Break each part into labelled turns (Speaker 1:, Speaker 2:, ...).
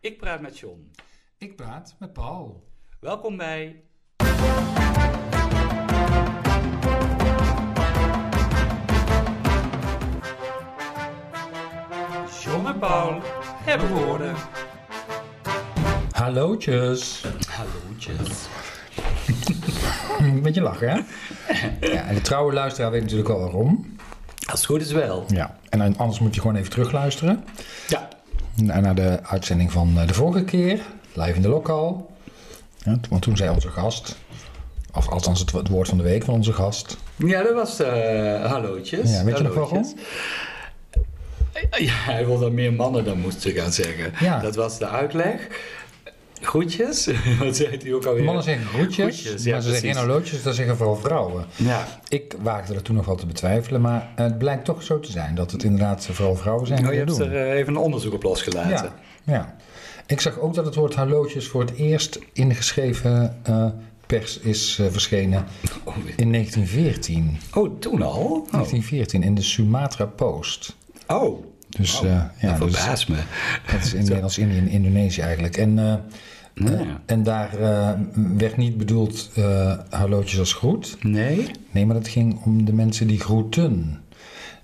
Speaker 1: Ik praat met John.
Speaker 2: Ik praat met Paul.
Speaker 1: Welkom bij. John en Paul hebben woorden.
Speaker 2: Hallootjes.
Speaker 1: Hallootjes.
Speaker 2: Een beetje lachen, hè? ja, en de trouwe luisteraar weet natuurlijk al waarom.
Speaker 1: Als het goed is wel.
Speaker 2: Ja. En dan- anders moet je gewoon even terugluisteren.
Speaker 1: Ja.
Speaker 2: Na- Naar de uitzending van eh, de vorige keer. Live in de lokal. Ja, t- want toen zei onze gast... Of althans het wo- het woord van de week van onze gast.
Speaker 1: Ja, dat was eh hallootjes.
Speaker 2: Ja, weet je nog
Speaker 1: Hallootjes. Eh, Ja, hij wil dat meer mannen dan moesten gaan zeggen.
Speaker 2: Ja.
Speaker 1: Dat was de uitleg. Groetjes. Wat zegt hij ook alweer?
Speaker 2: Mannen zeggen groetjes,
Speaker 1: Groetjes, ja,
Speaker 2: maar ze zeggen
Speaker 1: precies.
Speaker 2: geen horloges. Dat zeggen vooral vrouwen.
Speaker 1: Ja.
Speaker 2: Ik waagde dat toen nog wel te betwijfelen. Maar het blijkt toch zo te zijn. Dat het inderdaad vooral vrouwen zijn
Speaker 1: Nou, je
Speaker 2: die dat
Speaker 1: hebt
Speaker 2: doen.
Speaker 1: er eh, even een onderzoek op losgelaten.
Speaker 2: Ja, ja. Ik zag ook dat het woord hallootjes voor het eerst in de geschreven eh, pers is eh, verschenen
Speaker 1: Oh, weer.
Speaker 2: in 1914.
Speaker 1: oh, toen al? Oh,
Speaker 2: 1914 in de Sumatra Post.
Speaker 1: oh.
Speaker 2: Dus
Speaker 1: Oh,
Speaker 2: eh, ja,
Speaker 1: dat
Speaker 2: dus
Speaker 1: verbaast me.
Speaker 2: dat is in Nederlands-Indië en Indonesië eigenlijk. En, eh,
Speaker 1: Nou Ja.
Speaker 2: eh, en daar eh, werd niet bedoeld eh hallootjes als groet.
Speaker 1: Nee?
Speaker 2: Nee, maar het ging om de mensen die groeten.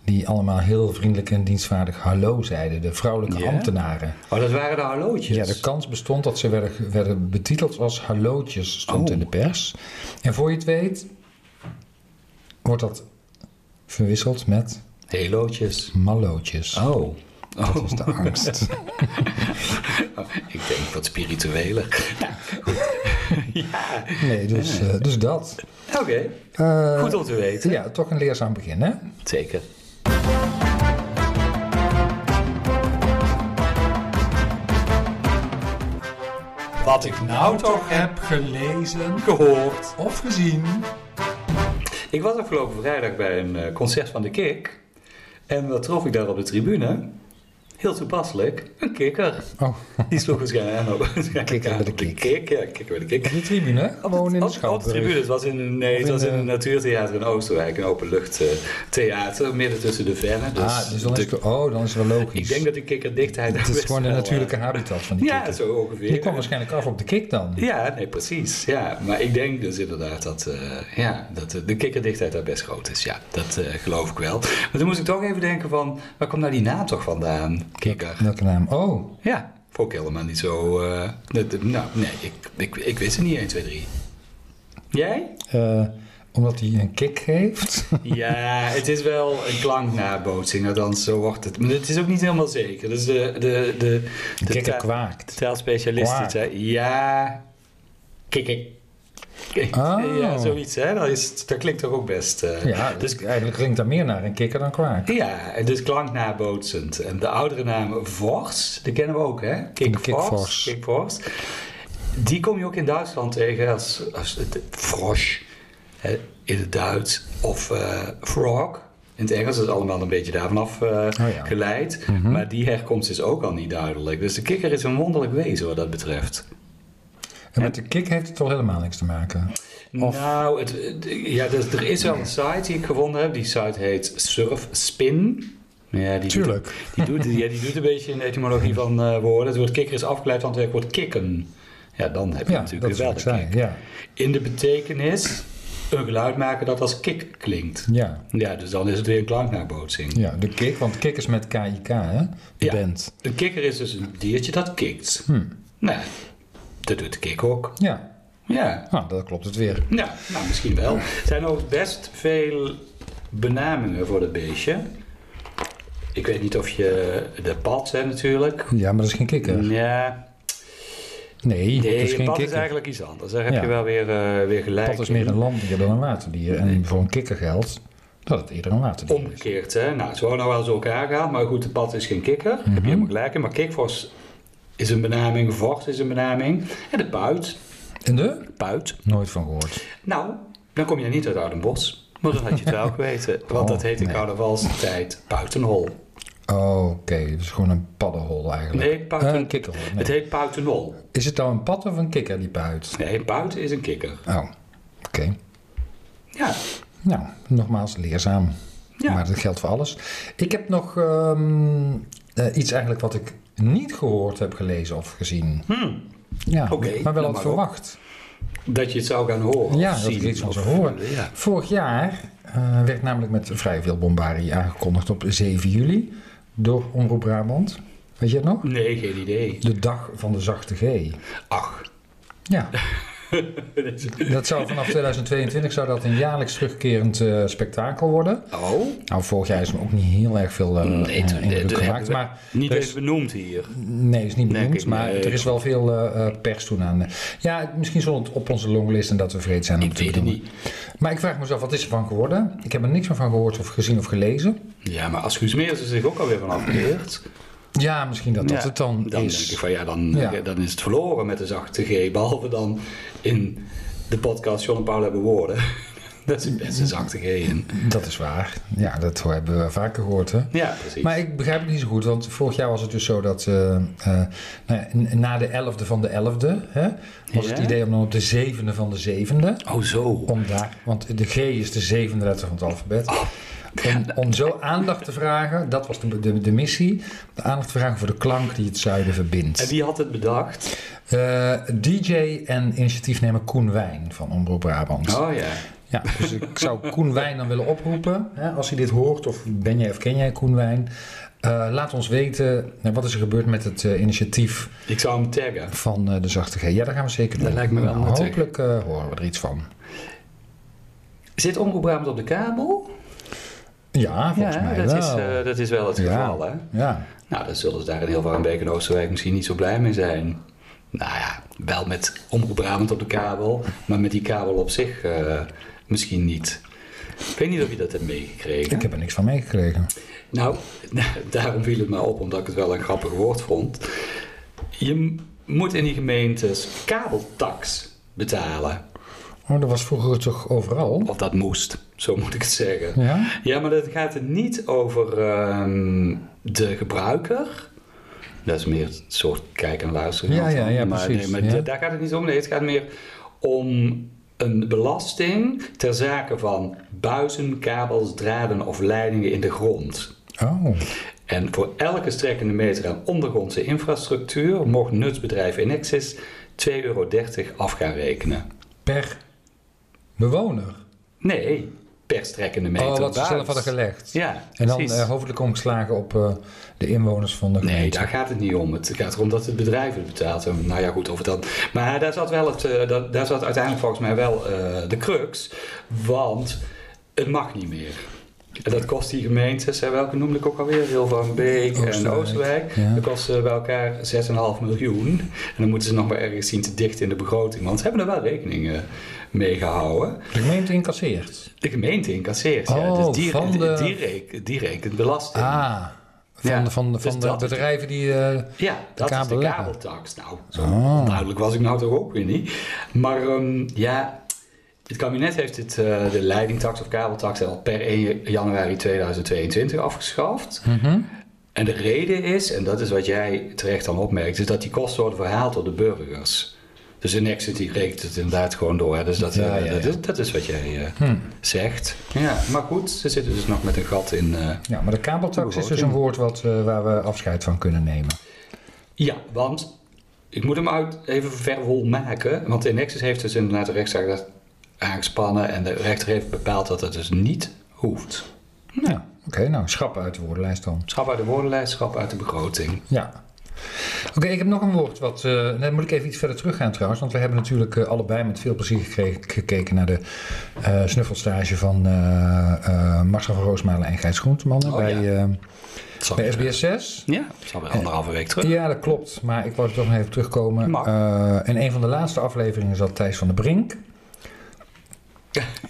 Speaker 2: Die allemaal heel vriendelijk en dienstvaardig hallo zeiden. De vrouwelijke
Speaker 1: Ja?
Speaker 2: ambtenaren.
Speaker 1: Oh, dat waren de horloges.
Speaker 2: Ja, de kans bestond dat ze werden, werden betiteld als hallootjes, stond
Speaker 1: Oh.
Speaker 2: in de pers. En voor je het weet, wordt dat verwisseld met
Speaker 1: Helootjes.
Speaker 2: mallootjes.
Speaker 1: Oh. Oh,
Speaker 2: Dat is de angst.
Speaker 1: ik denk wat spiritueler. Nou,
Speaker 2: Nee, dus, eh, dus dat.
Speaker 1: Oké,
Speaker 2: Eh,
Speaker 1: goed om te weten.
Speaker 2: ja, toch een leerzaam begin, hè?
Speaker 1: Zeker. Wat ik nou toch heb
Speaker 2: gelezen
Speaker 1: gehoord.
Speaker 2: of gezien.
Speaker 1: Ik was afgelopen vrijdag bij een eh, concert van de Kik. En wat trof ik daar op de tribune? Heel toepasselijk, een kikker.
Speaker 2: Oh,
Speaker 1: Die sloeg waarschijnlijk aan op waarschijnlijk
Speaker 2: Kikker
Speaker 1: aan
Speaker 2: bij de
Speaker 1: op de
Speaker 2: Kik.
Speaker 1: kik. Ja, kikker bij de kik.
Speaker 2: op de tribune, gewoon in de
Speaker 1: Op- op, de
Speaker 2: schouwburg.
Speaker 1: tribune, het was in, een- nee, het
Speaker 2: in eh,
Speaker 1: was in
Speaker 2: de-
Speaker 1: een natuurtheater in Oostenrijk, een openluchttheater, midden tussen de vennen. Dus,
Speaker 2: ah, dus dan is
Speaker 1: de-
Speaker 2: het, oh, dan is het wel logisch.
Speaker 1: ik denk dat de kikkerdichtheid daar
Speaker 2: het is
Speaker 1: best
Speaker 2: gewoon de
Speaker 1: wel, eh,
Speaker 2: natuurlijke habitat van die
Speaker 1: Ja,
Speaker 2: kikker.
Speaker 1: zo ongeveer.
Speaker 2: Je kwam waarschijnlijk af op de kik dan.
Speaker 1: Ja, nee, precies. Ja, maar ik denk dus inderdaad dat, eh, ja, dat eh, de kikkerdichtheid daar best groot is. Ja, dat eh, geloof ik wel. Maar toen moest ik toch even denken van, waar komt nou die naam toch vandaan? Kikker.
Speaker 2: Welke naam? Oh,
Speaker 1: Ja, vond ik helemaal niet zo... eh, dat- dat- nou, nee, ik, ik, ik wist het niet 1, 2, 3. Jij?
Speaker 2: Eh, omdat hij een kick geeft.
Speaker 1: Ja, het is wel een klanknabootsing, althans zo wordt het. Maar het is ook niet helemaal zeker. Dus de, de, de,
Speaker 2: Een
Speaker 1: de,
Speaker 2: kikker
Speaker 1: ta-
Speaker 2: kwaakt.
Speaker 1: de taalspecialist die
Speaker 2: Kwaak.
Speaker 1: zei, ja, kikker.
Speaker 2: Oh.
Speaker 1: Ja, zoiets, hè? Dat, is, dat klinkt toch ook best... eh,
Speaker 2: Ja,
Speaker 1: dus
Speaker 2: dus eigenlijk klinkt dat meer naar een kikker dan kwaak.
Speaker 1: ja, en dus klanknabootsend. En de oudere naam Vors, die kennen we ook, hè? Kik
Speaker 2: Kik
Speaker 1: Vors.
Speaker 2: Vors.
Speaker 1: Kik Vors. Die kom je ook in Duitsland tegen als, als het Frosch hè, in het Duits. Of eh, Frog in het Engels. Dat is allemaal een beetje daarvan af eh,
Speaker 2: Oh, ja. Mhm.
Speaker 1: geleid. Maar die herkomst is ook al niet duidelijk. Dus de kikker is een wonderlijk wezen wat dat betreft.
Speaker 2: En met de kick heeft het toch helemaal niks te maken. Of-
Speaker 1: Nou, het, het- ja, dus er is wel een site die ik gevonden heb. Die site heet Surfspin. Ja, die
Speaker 2: Tuurlijk.
Speaker 1: Doet, die, doet, ja, die doet een beetje in de etymologie van eh, woorden. Het woord kikker is afgeleid van het werkwoord kikken. Ja, dan heb je
Speaker 2: Ja, dat
Speaker 1: natuurlijk
Speaker 2: is
Speaker 1: wel
Speaker 2: wat
Speaker 1: de
Speaker 2: ik zei.
Speaker 1: kick.
Speaker 2: Ja,
Speaker 1: In de betekenis een geluid maken dat als kik klinkt.
Speaker 2: ja,
Speaker 1: Ja, dus dan is het weer een klanknabootsing.
Speaker 2: ja, de kick, want kick is met KIK, hè? De
Speaker 1: Ja.
Speaker 2: band.
Speaker 1: Een kikker is dus een diertje dat kikt.
Speaker 2: Hm.
Speaker 1: Nou, dat doet de kik ook.
Speaker 2: Ja,
Speaker 1: Ja.
Speaker 2: nou, dat klopt het weer.
Speaker 1: Ja, nou misschien wel. Er zijn ook best veel benamingen voor dat beestje. Ik weet niet of je de pad hè, natuurlijk.
Speaker 2: Ja, maar dat is geen kikker.
Speaker 1: Ja,
Speaker 2: Nee, dat
Speaker 1: nee,
Speaker 2: is
Speaker 1: een
Speaker 2: geen
Speaker 1: pad is
Speaker 2: kikker.
Speaker 1: eigenlijk iets anders. Daar heb
Speaker 2: Ja.
Speaker 1: je wel weer, eh, weer
Speaker 2: Een
Speaker 1: gelijk.
Speaker 2: pad is meer een
Speaker 1: in.
Speaker 2: landdier dan een waterdier. En voor een kikker geldt dat het eerder een waterdier is.
Speaker 1: Omgekeerd, hè? Nou, het is gewoon nou wel zo elkaar gaan, maar goed, de pad is geen kikker. Heb
Speaker 2: Mhm.
Speaker 1: je helemaal gelijk in. Maar kikvors is een benaming, vocht is een benaming. En de puit,
Speaker 2: En de?
Speaker 1: puit.
Speaker 2: Nooit van gehoord.
Speaker 1: Nou, dan kom je niet uit Oudenbos. Maar dan had je het wel geweten, want
Speaker 2: Oh,
Speaker 1: dat heet in
Speaker 2: nee.
Speaker 1: carnavalstijd buitenhol.
Speaker 2: Oh, Oké, dus gewoon een paddenhol eigenlijk.
Speaker 1: Nee, padden-
Speaker 2: Eh, een kikkerhol. nee.
Speaker 1: Het heet pautenol.
Speaker 2: Is het nou een pad of een kikker die puit?
Speaker 1: Nee, een paut is een kikker.
Speaker 2: Oh, oké.
Speaker 1: Ja,
Speaker 2: Nou, nogmaals, leerzaam.
Speaker 1: Ja.
Speaker 2: Maar dat geldt voor alles. Ik heb nog ehm, eh, iets eigenlijk wat ik niet gehoord heb, gelezen of gezien. Ja,
Speaker 1: Hmm. Oké,
Speaker 2: maar wel
Speaker 1: nou
Speaker 2: had
Speaker 1: maar op.
Speaker 2: verwacht.
Speaker 1: Dat je het zou gaan horen.
Speaker 2: Ja,
Speaker 1: of
Speaker 2: dat
Speaker 1: zien,
Speaker 2: ik iets van
Speaker 1: of-
Speaker 2: zou horen.
Speaker 1: Ja.
Speaker 2: Vorig jaar eh, werd namelijk met vrij veel bombarie aangekondigd op 7 juli door Omroep Brabant. Weet je het nog?
Speaker 1: Nee, geen idee.
Speaker 2: De dag van de zachte G. Oh?
Speaker 1: Ach.
Speaker 2: Ja,
Speaker 1: Dat is-
Speaker 2: dat zou vanaf 2022 zou dat een jaarlijks terugkerend eh, spektakel worden.
Speaker 1: Oh,
Speaker 2: Nou, vorig jaar is er ook niet heel erg veel eh
Speaker 1: Nee, toen-
Speaker 2: eh, indruk
Speaker 1: dat hebben
Speaker 2: gemaakt.
Speaker 1: we-
Speaker 2: Maar dus-
Speaker 1: niet
Speaker 2: er
Speaker 1: eens
Speaker 2: is,
Speaker 1: benoemd hier.
Speaker 2: nee, is niet
Speaker 1: Nee,
Speaker 2: benoemd,
Speaker 1: kijk,
Speaker 2: maar
Speaker 1: nee.
Speaker 2: er is wel veel eh, eh, pers toen aan. Ja, misschien stond het op onze longlist en dat we vreed zijn om
Speaker 1: Ik
Speaker 2: te
Speaker 1: weet het
Speaker 2: bedoelen.
Speaker 1: niet.
Speaker 2: Maar ik vraag mezelf, wat is er van geworden? Ik heb er niks meer van gehoord of gezien of gelezen.
Speaker 1: Ja, maar als Guus Meers er zich ook alweer van afkeert.
Speaker 2: Ja, misschien dat dat
Speaker 1: ja,
Speaker 2: het dan,
Speaker 1: dan
Speaker 2: is.
Speaker 1: denk ik van ja dan, eh,
Speaker 2: Ja.
Speaker 1: dan is het verloren met de zachte G. Behalve dan in de podcast John en Paul hebben woorden. Dat is best een zachte G in.
Speaker 2: Dat is waar. Ja, dat hebben we vaker gehoord, hè?
Speaker 1: Ja, precies.
Speaker 2: Maar ik begrijp het niet zo goed, want vorig jaar was het dus zo dat eh, eh, nou ja, n- na de 11e van de 11e hè, was het
Speaker 1: Ja.
Speaker 2: idee om dan op de zevende van de zevende,
Speaker 1: Oh zo.
Speaker 2: om daar, want de G is de zevende letter van het alfabet, om, om zo aandacht te vragen, dat was de, de, de missie, de aandacht te vragen voor de klank die het zuiden
Speaker 1: En
Speaker 2: verbindt.
Speaker 1: wie had het bedacht?
Speaker 2: Eh, DJ en initiatiefnemer Koen Wijn van Omroep Brabant.
Speaker 1: Oh ja.
Speaker 2: Ja, dus ik zou Koen Wijn dan willen oproepen. Hè, als hij dit hoort, of ben jij of ken jij Koen Wijn? eh, laat ons weten nou, wat is er gebeurd met het eh, initiatief
Speaker 1: Ik zou hem taggen.
Speaker 2: van eh, de Zachte G. Ja, daar gaan we zeker doen.
Speaker 1: Dat lijkt me wel
Speaker 2: Nou,
Speaker 1: nuttig.
Speaker 2: Hopelijk eh, horen we er iets van.
Speaker 1: Zit Omroep Brabant op de kabel?
Speaker 2: Ja, volgens mij
Speaker 1: dat
Speaker 2: wel.
Speaker 1: is, eh, dat is wel het
Speaker 2: Ja.
Speaker 1: geval hè.
Speaker 2: ja.
Speaker 1: Nou, dan zullen ze daar in heel Warmbeek en Oosterwijk misschien niet zo blij mee zijn. Nou ja, wel met Omroep Brabant op de kabel, maar met die kabel op zich eh, misschien niet. Ik weet niet of je dat hebt meegekregen.
Speaker 2: Ik heb er niks van meegekregen.
Speaker 1: Nou, daarom viel het me op, omdat ik het wel een grappig woord vond. Je m- moet in die gemeentes kabeltax betalen.
Speaker 2: Oh, dat was vroeger toch overal?
Speaker 1: Of dat moest, zo moet ik het zeggen.
Speaker 2: Ja?
Speaker 1: Ja, maar dat gaat het niet over ehm, de gebruiker. Dat is meer het soort kijk- en luisteren.
Speaker 2: Ja, ja, ja,
Speaker 1: maar,
Speaker 2: precies,
Speaker 1: Nee, maar
Speaker 2: ja.
Speaker 1: da- daar gaat het niet om. Nee, het gaat meer om een belasting ter zake van buizen, kabels, draden of leidingen in de grond.
Speaker 2: Oh,
Speaker 1: En voor elke strekkende meter aan ondergrondse infrastructuur mocht nutsbedrijf Inexis 2,30 euro af gaan rekenen.
Speaker 2: per bewoner.
Speaker 1: Nee, per strekkende meter.
Speaker 2: Oh, wat ze
Speaker 1: buis.
Speaker 2: zelf hadden gelegd.
Speaker 1: Ja,
Speaker 2: En dan
Speaker 1: precies.
Speaker 2: eh, hoofdelijk omgeslagen op eh, de inwoners van de gemeente.
Speaker 1: Nee, daar gaat het niet om. Het gaat erom dat het bedrijf het betaalt. En nou ja, goed, of het dan. Maar daar zat, wel het, eh, dat, daar zat uiteindelijk volgens mij wel eh, de crux. Want het mag niet meer. En dat kost die gemeentes, hè, welke noemde ik ook alweer? Heel van Beek en
Speaker 2: Oosterwijk,
Speaker 1: Oosterwijk.
Speaker 2: ja.
Speaker 1: Dat kost eh, bij elkaar 6,5 miljoen. En dan moeten ze nog maar ergens zien te dichten in de begroting. Want ze hebben er wel rekening eh, mee gehouden.
Speaker 2: De gemeente incasseert.
Speaker 1: De gemeente incasseert. ja.
Speaker 2: Oh,
Speaker 1: Dus die,
Speaker 2: van
Speaker 1: die-
Speaker 2: de-
Speaker 1: die, reken- die rekent belasting.
Speaker 2: Ah, van,
Speaker 1: Ja,
Speaker 2: de, van, de,
Speaker 1: dus
Speaker 2: van de
Speaker 1: dat is-
Speaker 2: bedrijven die... eh,
Speaker 1: Ja, dat is de
Speaker 2: kabel leggen.
Speaker 1: kabeltax. Nou, zo
Speaker 2: Ah.
Speaker 1: onduidelijk was ik nou toch ook weer niet. Maar ehm, ja, het kabinet heeft het, eh, de leidingtax of kabeltax al per 1 januari 2022 afgeschaft.
Speaker 2: mhm.
Speaker 1: En de reden is, en dat is wat jij terecht dan opmerkt, is dat die kosten worden verhaald door de burgers. Dus in Exit die rekent het inderdaad gewoon door. Hè? Dus dat, eh,
Speaker 2: Ja, ja,
Speaker 1: dat,
Speaker 2: ja.
Speaker 1: Is, dat is wat jij eh,
Speaker 2: Hm.
Speaker 1: zegt. Ja, maar goed, ze zitten dus nog met een gat in... eh,
Speaker 2: Ja, maar de kabeltax is dus een woord wat, eh, waar we afscheid van kunnen nemen.
Speaker 1: Ja, want ik moet hem uit even verwol maken. Want de Nexus heeft dus inderdaad de rechtszaak dat aangespannen. En de rechter heeft bepaald dat dat dus niet hoeft.
Speaker 2: Ja, oké, nou, schrappen uit de woordenlijst dan.
Speaker 1: Schap uit de woordenlijst, schap uit de begroting.
Speaker 2: Ja. Oké, ik heb nog een woord wat... eh dan moet ik even iets verder teruggaan trouwens. Want we hebben natuurlijk eh, allebei met veel plezier gekregen, gekeken naar de eh, snuffelstage van eh eh, Marcel van Roosmalen en Gijs Groenteman.
Speaker 1: Oh,
Speaker 2: bij, eh,
Speaker 1: Zal
Speaker 2: bij SBS 6.
Speaker 1: Ja, zal weer anderhalve week terug.
Speaker 2: Ja, dat klopt. Maar ik wou er toch nog even terugkomen.
Speaker 1: Mag.
Speaker 2: Eh, in een van de laatste afleveringen zat Thijs van der Brink.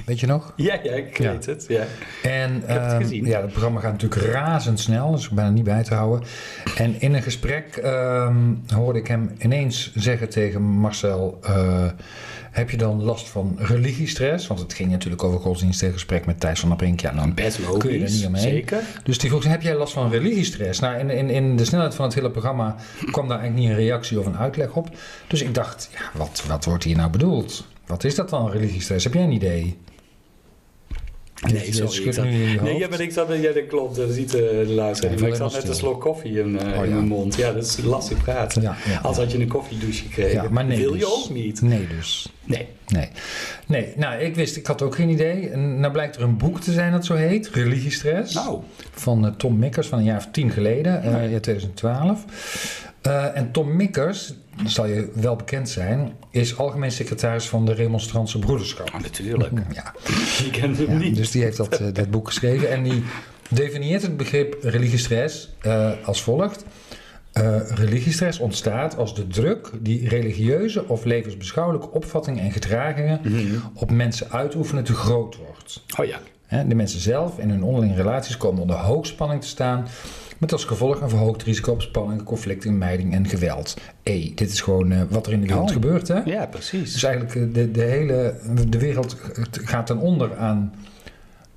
Speaker 2: Weet je nog?
Speaker 1: Ja, ja, ik weet het. Ja.
Speaker 2: En
Speaker 1: heb het
Speaker 2: ehm,
Speaker 1: gezien.
Speaker 2: ja, het programma gaat natuurlijk razendsnel, dus ik ben er niet bij te houden. En in een gesprek ehm, hoorde ik hem ineens zeggen tegen Marcel: eh, Heb je dan last van religiestress? Want het ging natuurlijk over godsdienst in het gesprek met Thijs van der Brink. Ja, dan
Speaker 1: Best
Speaker 2: Kun je er
Speaker 1: logisch,
Speaker 2: niet omheen?
Speaker 1: zeker.
Speaker 2: Dus die vroeg, heb jij last van religiestress? Nou, in, in, in de snelheid van het hele programma kwam daar eigenlijk niet een reactie of een uitleg op. Dus ik dacht, ja, wat, wat wordt hier nou bedoeeld? Wat is dat dan, religiestress? Heb jij een idee? Dit- dit
Speaker 1: sorry,
Speaker 2: schudt
Speaker 1: ik zat-
Speaker 2: nu in je
Speaker 1: Nee,
Speaker 2: hoofd.
Speaker 1: ja, maar ik zat, ja, dat klopt, dat ziet eh, de luisteraar.
Speaker 2: Ja,
Speaker 1: niet. maar ik
Speaker 2: alleen
Speaker 1: zat
Speaker 2: maar
Speaker 1: net een
Speaker 2: stil.
Speaker 1: slok koffie in, eh,
Speaker 2: Oh,
Speaker 1: in
Speaker 2: ja.
Speaker 1: mijn mond. Ja, dat is lastig praten.
Speaker 2: Ja, ja,
Speaker 1: Als
Speaker 2: ja.
Speaker 1: had je een koffiedouche gekregen.
Speaker 2: Ja, maar nee.
Speaker 1: Wil je
Speaker 2: dus.
Speaker 1: ook niet?
Speaker 2: Nee, dus.
Speaker 1: Nee.
Speaker 2: Nee. Nee, nou, ik wist, ik had ook geen idee. En nou blijkt er een boek te zijn dat zo heet, Religiestress.
Speaker 1: Nou,
Speaker 2: Van eh, Tom Mikkers van een jaar of tien geleden, eh,
Speaker 1: Ja.
Speaker 2: jaar 2012. Eh, en Tom Mikkers, dat zal je wel bekend zijn, is algemeen secretaris van de Remonstrantse Broederschap.
Speaker 1: nou, natuurlijk.
Speaker 2: Ja,
Speaker 1: Je kent hem
Speaker 2: ja,
Speaker 1: niet.
Speaker 2: dus die heeft dat, eh, dat boek geschreven. En die definieert het begrip religiestress eh, als volgt. Eh, religiestress ontstaat als de druk die religieuze of levensbeschouwelijke opvattingen en gedragingen
Speaker 1: Mhm.
Speaker 2: op mensen uitoefenen te groot wordt.
Speaker 1: Oh ja.
Speaker 2: Hè, De mensen zelf en hun onderlinge relaties komen onder hoogspanning te staan, met als gevolg een verhoogd risico op spanningen, conflicten, mijding en geweld. Hé, dit is gewoon eh, wat er in de wereld
Speaker 1: Oh.
Speaker 2: gebeurt, hè?
Speaker 1: Ja, precies.
Speaker 2: Dus eigenlijk eh, de, de hele de wereld gaat ten onder aan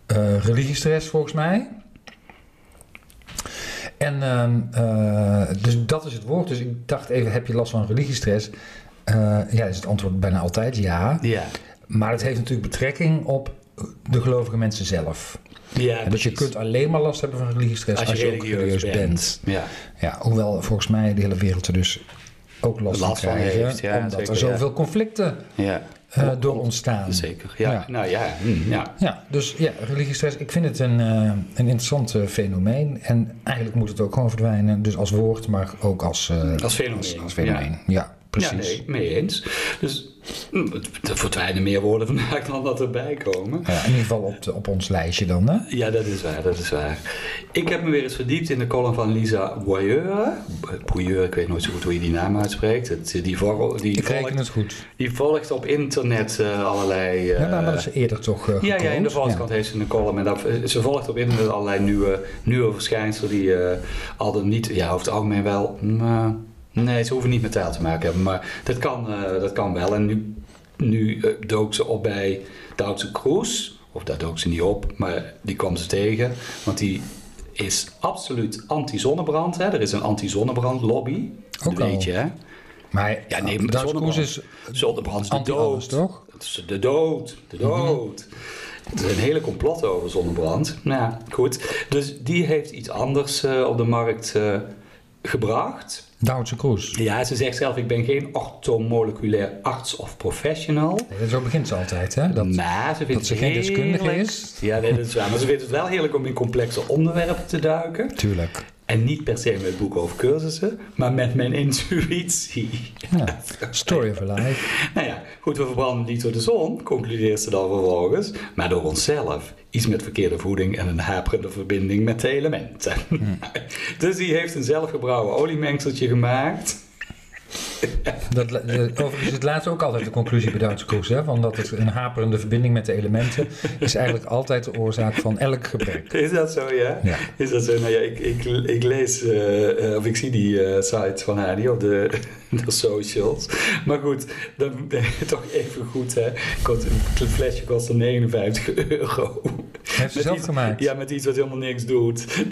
Speaker 2: eh, religiestress volgens mij. En ehm, eh, dus dat is het woord. Dus ik dacht even, heb je last van religiestress? Eh, ja, is het antwoord bijna altijd ja.
Speaker 1: Ja.
Speaker 2: Maar het heeft natuurlijk betrekking op de gelovige mensen zelf.
Speaker 1: ja
Speaker 2: En dus je
Speaker 1: precies.
Speaker 2: kunt alleen maar last hebben van religiestress als, je, ook religieus bent.
Speaker 1: Ja.
Speaker 2: Ja, hoewel volgens mij de hele wereld er dus ook last,
Speaker 1: Last
Speaker 2: van
Speaker 1: van
Speaker 2: krijgen.
Speaker 1: heeft, ja,
Speaker 2: omdat
Speaker 1: zeker,
Speaker 2: er
Speaker 1: ja.
Speaker 2: zoveel conflicten
Speaker 1: ja.
Speaker 2: eh, door ontstaan.
Speaker 1: Zeker. Ja.
Speaker 2: Ja.
Speaker 1: Nou ja. hm, ja.
Speaker 2: Ja, dus ja, religiestress, ik vind het een, eh, een interessant eh, fenomeen. En eigenlijk moet het ook gewoon verdwijnen. Dus als woord, maar ook als, eh,
Speaker 1: Als fenomeen,
Speaker 2: Als, als fenomeen. Ja. precies.
Speaker 1: Ja, nee, mee eens. Dus hm, er verdwijnen meer woorden vandaag dan dat erbij komen.
Speaker 2: Ja, in ieder geval op, de- op ons lijstje dan, hè?
Speaker 1: Ja, dat is waar, dat is waar. Ik heb me weer eens verdiept in de column van Lisa Boyeur. Boyeur, ik weet nooit zo goed hoe je die naam uitspreekt. Het, die, vor- die,
Speaker 2: Ik reken
Speaker 1: volgt,
Speaker 2: het goed.
Speaker 1: die volgt op internet eh, allerlei... eh,
Speaker 2: ja, nou, maar dat is eerder toch eh,
Speaker 1: ja, ja, in de
Speaker 2: getoond.
Speaker 1: Volkskrant heeft ze een column. En daar, ze volgt op internet allerlei nieuwe, nieuwe verschijnselen die eh, al dan niet, ja, over het algemeen wel. maar- nee, ze hoeven niet met taal te maken hebben. Maar dat kan, eh, dat kan wel. En nu, nu eh, dook ze op bij Duitse Kroes. Of daar dook ze niet op, maar die kwam ze tegen. Want die is absoluut anti-zonnebrand. Hè. Er is een anti-zonnebrandlobby.
Speaker 2: Ook
Speaker 1: Dat weet
Speaker 2: al.
Speaker 1: je, hè?
Speaker 2: Maar
Speaker 1: Ja,
Speaker 2: ja,
Speaker 1: nee,
Speaker 2: nee,
Speaker 1: maar zonnebrand.
Speaker 2: is
Speaker 1: Zonnebrand is de
Speaker 2: anti-alles,
Speaker 1: dood.
Speaker 2: toch?
Speaker 1: Dat is de dood, de
Speaker 2: Mhm.
Speaker 1: dood. Er zijn hele complotten over zonnebrand. Nou, ja, goed. Dus die heeft iets anders eh, op de markt eh, gebracht.
Speaker 2: Duitse Kroes.
Speaker 1: Ja, ze zegt zelf, ik ben geen orthomoleculair arts of professional.
Speaker 2: Nee, zo begint ze altijd, hè? Dat,
Speaker 1: maar ze vindt
Speaker 2: dat ze
Speaker 1: het
Speaker 2: geen deskundige
Speaker 1: heerlijk-
Speaker 2: is.
Speaker 1: Ja, nee, dat is waar. Maar ze vindt het wel heerlijk om in complexe onderwerpen te duiken.
Speaker 2: Tuurlijk.
Speaker 1: En niet per se met boeken of cursussen, maar met mijn intuïtie.
Speaker 2: Ja. Story of a life.
Speaker 1: Nou ja, goed, we verbranden niet door de zon, concludeert ze dan vervolgens, maar door onszelf. Iets met verkeerde voeding en een haperende verbinding met de elementen. dus die heeft een zelfgebrouwen oliemengseltje gemaakt.
Speaker 2: Dat, la- de- overigens is het laatste ook altijd de conclusie bij Duitse Kroes, hè? Van dat het een haperende verbinding met de elementen is eigenlijk altijd de oorzaak van elk gebrek.
Speaker 1: Is dat zo, ja?
Speaker 2: Ja.
Speaker 1: Is dat zo? Nou ja, ik, ik, ik lees, eh, eh, of ik zie die eh, site van haar niet op de, de socials. Maar goed, dan toch even goed, hè. Kost, een flesje kostte 59 euro.
Speaker 2: Heeft ze
Speaker 1: Met
Speaker 2: zelf
Speaker 1: iets-
Speaker 2: gemaakt?
Speaker 1: Ja, met iets wat helemaal niks doet.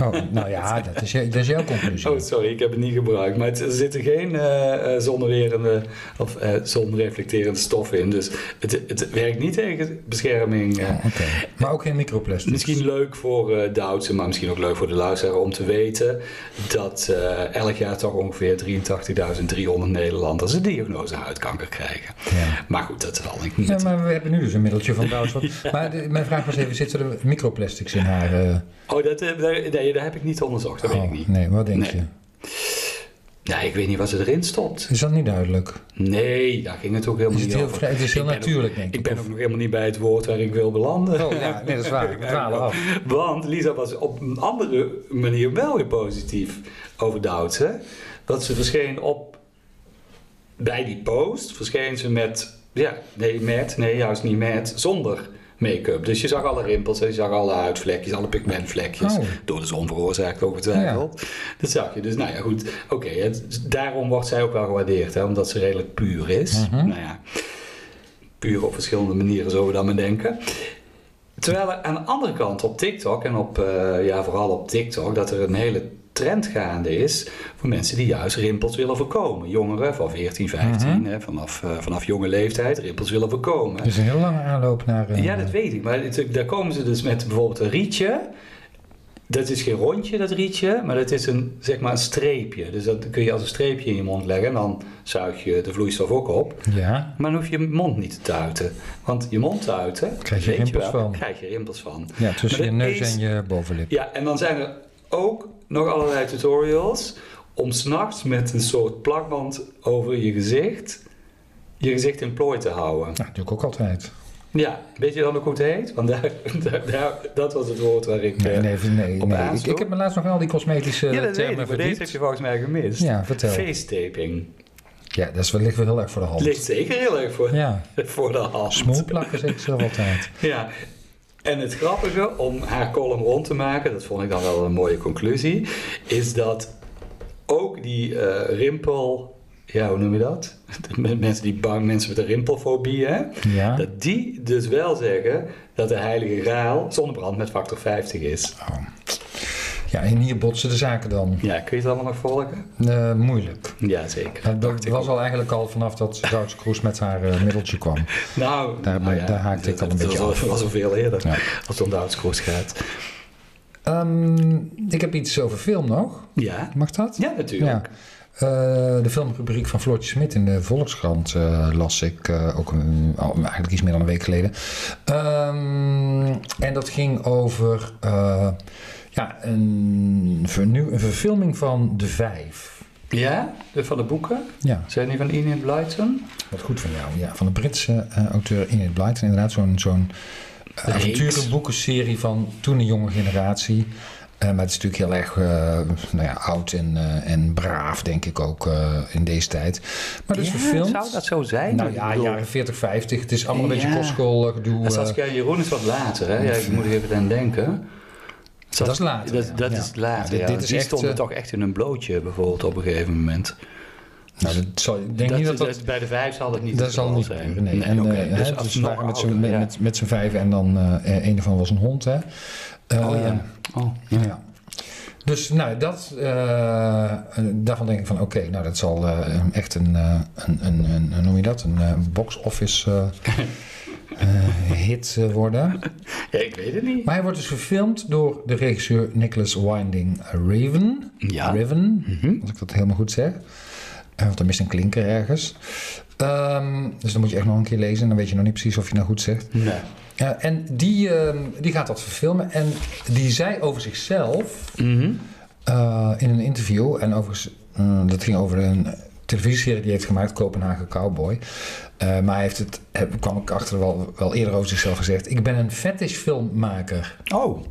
Speaker 2: Oh, nou ja, dat is, je- dat is jouw conclusie.
Speaker 1: Oh, sorry, ik heb het niet gebruikt. Maar het, er zitten geen eh, eh, zonnewerende of eh, zonreflecterende stoffen in. Dus het, het werkt niet tegen bescherming. eh.
Speaker 2: Ja, Oké, maar ook geen microplastics.
Speaker 1: Misschien leuk voor eh Duitsen, maar misschien ook leuk voor de luisteraar om te weten dat eh, elk jaar toch ongeveer 83.300 Nederlanders een diagnose huidkanker krijgen.
Speaker 2: Ja.
Speaker 1: Maar goed, dat zal ik niet.
Speaker 2: Ja, maar we hebben nu dus een middeltje van Duits. Maar de- mijn vraag was even, zitten er microplastics in haar... eh,
Speaker 1: Oh, dat, eh, daar, nee, daar heb ik niet onderzocht, dat weet ik
Speaker 2: oh,
Speaker 1: niet.
Speaker 2: Nee, wat denk
Speaker 1: Nee.
Speaker 2: je?
Speaker 1: Nee, ik weet niet wat ze erin stopt.
Speaker 2: Is dat niet duidelijk?
Speaker 1: Nee, daar ging het ook helemaal
Speaker 2: Is het
Speaker 1: niet
Speaker 2: heel,
Speaker 1: over.
Speaker 2: vrij- het is heel
Speaker 1: Ik ben ook-
Speaker 2: natuurlijk, denk ik.
Speaker 1: Ik ben
Speaker 2: of-
Speaker 1: ook nog helemaal niet bij het woord waar ik wil belanden.
Speaker 2: Oh ja, nee, dat is waar. We dwalen af.
Speaker 1: Want Lisa was op een andere manier wel weer positief over Douds. Hè? Dat ze verscheen op... Bij die post verscheen ze met... Ja, nee, met. Nee, juist niet met. Zonder make-up. Dus je zag alle rimpels en je zag alle huidvlekjes, alle pigmentvlekjes.
Speaker 2: Oh.
Speaker 1: Door de zon veroorzaakt, ongetwijfeld. Dat zag je. Dus nou ja, goed. Oké, het- daarom wordt zij ook wel gewaardeerd. Hè? Omdat ze redelijk puur is.
Speaker 2: Mhm.
Speaker 1: Nou ja, puur op verschillende manieren, zo we dan maar denken. Terwijl er aan de andere kant op TikTok en op, eh, ja, vooral op TikTok, dat er een hele trend gaande is voor mensen die juist rimpels willen voorkomen. Jongeren van 14, 15, hè, vanaf, eh, vanaf jonge leeftijd rimpels willen voorkomen.
Speaker 2: Mhm. Dus een heel lange aanloop naar... eh,
Speaker 1: Ja, dat weet ik. Maar het- daar komen ze dus met bijvoorbeeld een rietje. Dat is geen rondje, dat rietje, maar dat is een, zeg maar een streepje. Dus dat kun je als een streepje in je mond leggen en dan zuig je de vloeistof ook op.
Speaker 2: Ja,
Speaker 1: Maar dan hoef je je mond niet te tuiten. Want je mond tuiten,
Speaker 2: Krijg je
Speaker 1: weet
Speaker 2: rimpels
Speaker 1: wel,
Speaker 2: van.
Speaker 1: krijg je rimpels van.
Speaker 2: ja tussen
Speaker 1: Maar
Speaker 2: je
Speaker 1: dat
Speaker 2: neus
Speaker 1: is-
Speaker 2: en je bovenlip.
Speaker 1: Ja, en dan zijn er ook nog allerlei tutorials om s'nachts met een soort plakband over je gezicht, je gezicht in plooi te houden.
Speaker 2: Nou, dat doe ik ook altijd.
Speaker 1: Ja, weet je dan ook hoe het heet? Want daar, daar, daar- dat was het woord waar ik...
Speaker 2: Nee,
Speaker 1: eh,
Speaker 2: nee, nee.
Speaker 1: op
Speaker 2: nee. Ik,
Speaker 1: aansloeg.
Speaker 2: ik heb me laatst nog wel die cosmetische
Speaker 1: ja, dat weet ik,
Speaker 2: termen
Speaker 1: maar deze heb
Speaker 2: verdiept.
Speaker 1: je volgens mij gemist.
Speaker 2: Ja, vertel.
Speaker 1: Face taping.
Speaker 2: Ja, dat is wellicht wel heel erg voor de hand.
Speaker 1: Ligt zeker heel erg voor,
Speaker 2: Ja,
Speaker 1: voor de hand.
Speaker 2: smoel plakken zeg ik zelf altijd.
Speaker 1: Ja, en het grappige om haar column rond te maken, dat vond ik dan wel een mooie conclusie, is dat ook die eh, rimpel, ja hoe noem je dat? Met Mensen die bang, mensen met een rimpelfobie, hè?
Speaker 2: Ja.
Speaker 1: Dat die dus wel zeggen dat de heilige graal zonnebrand met factor 50 is.
Speaker 2: Oh. Ja, en hier botsen de zaken dan.
Speaker 1: Ja, kun je het allemaal nog volgen?
Speaker 2: Eh, moeilijk.
Speaker 1: Ja, zeker.
Speaker 2: Dat, dat was al eigenlijk al vanaf dat Routje Kroes met haar eh, middeltje kwam.
Speaker 1: Nou,
Speaker 2: Daar-
Speaker 1: nou
Speaker 2: daar haakte ik
Speaker 1: dat-
Speaker 2: al een
Speaker 1: dat
Speaker 2: beetje
Speaker 1: was,
Speaker 2: af.
Speaker 1: was al veel eerder
Speaker 2: Ja.
Speaker 1: als het om de houtskoers gaat.
Speaker 2: Ehm, ik heb iets over film nog.
Speaker 1: Ja,
Speaker 2: Mag dat?
Speaker 1: ja natuurlijk.
Speaker 2: Ja. Eh, de filmrubriek van Floortje Smit in de Volkskrant eh, las ik eh, ook een- al- eigenlijk iets meer dan een week geleden. Ehm, en dat ging over eh, ja, een, vernieu- een verfilming van De Vijf.
Speaker 1: Ja? De van de boeken?
Speaker 2: Ja,
Speaker 1: Zijn die van Ian Blyton?
Speaker 2: wat goed van jou. Ja, van de Britse eh, auteur Enid Blyton. Inderdaad, zo'n zo'n eh,
Speaker 1: Reeks.
Speaker 2: avonturenboekenserie van toen een jonge generatie. Eh, maar het is natuurlijk heel erg eh, nou ja, oud en, eh, en braaf, denk ik ook, eh, in deze tijd. Maar dat is verfilmd.
Speaker 1: Zou dat zo zijn?
Speaker 2: Nou
Speaker 1: Ik
Speaker 2: ja,
Speaker 1: bedoel,
Speaker 2: jaren 40, 50. Het is allemaal een beetje
Speaker 1: Ja.
Speaker 2: kostschool gedoe.
Speaker 1: en
Speaker 2: eh,
Speaker 1: Saskia en Jeroen is wat later, hè? Ja, ik moet er even aan denken. Sas-
Speaker 2: Dat is later,
Speaker 1: Dat,
Speaker 2: ja.
Speaker 1: dat
Speaker 2: Ja.
Speaker 1: is later,
Speaker 2: Ja,
Speaker 1: ja.
Speaker 2: dit- dit is
Speaker 1: die
Speaker 2: echt,
Speaker 1: stonden
Speaker 2: eh,
Speaker 1: toch echt in een blootje, bijvoorbeeld, op een gegeven moment.
Speaker 2: nou, dat zal, ik denk
Speaker 1: dat,
Speaker 2: niet dat dat...
Speaker 1: dat- bij de vijf zal het niet
Speaker 2: dat
Speaker 1: het
Speaker 2: zal
Speaker 1: geval
Speaker 2: niet
Speaker 1: zijn.
Speaker 2: gebeuren, nee. en,
Speaker 1: oké.
Speaker 2: eh, hè,
Speaker 1: als
Speaker 2: dus
Speaker 1: nog
Speaker 2: waren met z'n
Speaker 1: ouder,
Speaker 2: met,
Speaker 1: ja.
Speaker 2: met, met z'n vijf en dan eh een ervan was een hond, hè. Eh,
Speaker 1: Oh ja. Oh,
Speaker 2: Ja. Dus nou, dat, eh, daarvan denk ik van oké, nou dat zal eh, echt een, eh, een, een, een, hoe noem je dat, een eh, box office eh, eh, hit eh, worden.
Speaker 1: Ja, ik weet het niet.
Speaker 2: Maar hij wordt dus verfilmd door de regisseur Nicholas Winding Raven,
Speaker 1: Ja.
Speaker 2: Raven
Speaker 1: Mhm.
Speaker 2: als ik dat helemaal goed zeg. Eh, want er mist een klinker ergens. Ehm, dus dan moet je echt nog een keer lezen en dan weet je nog niet precies of je nou goed zegt.
Speaker 1: Nee.
Speaker 2: Eh, en die, ehm, die gaat dat verfilmen en die zei over zichzelf...
Speaker 1: Mhm.
Speaker 2: Eh, in een interview, en overigens, mm, dat ging over een televisieserie die hij heeft gemaakt, Kopenhagen Cowboy. Eh, maar hij heeft het, heb- kwam ik achter wel, wel eerder over zichzelf gezegd. Ik ben een fetishfilmmaker.
Speaker 1: Oh,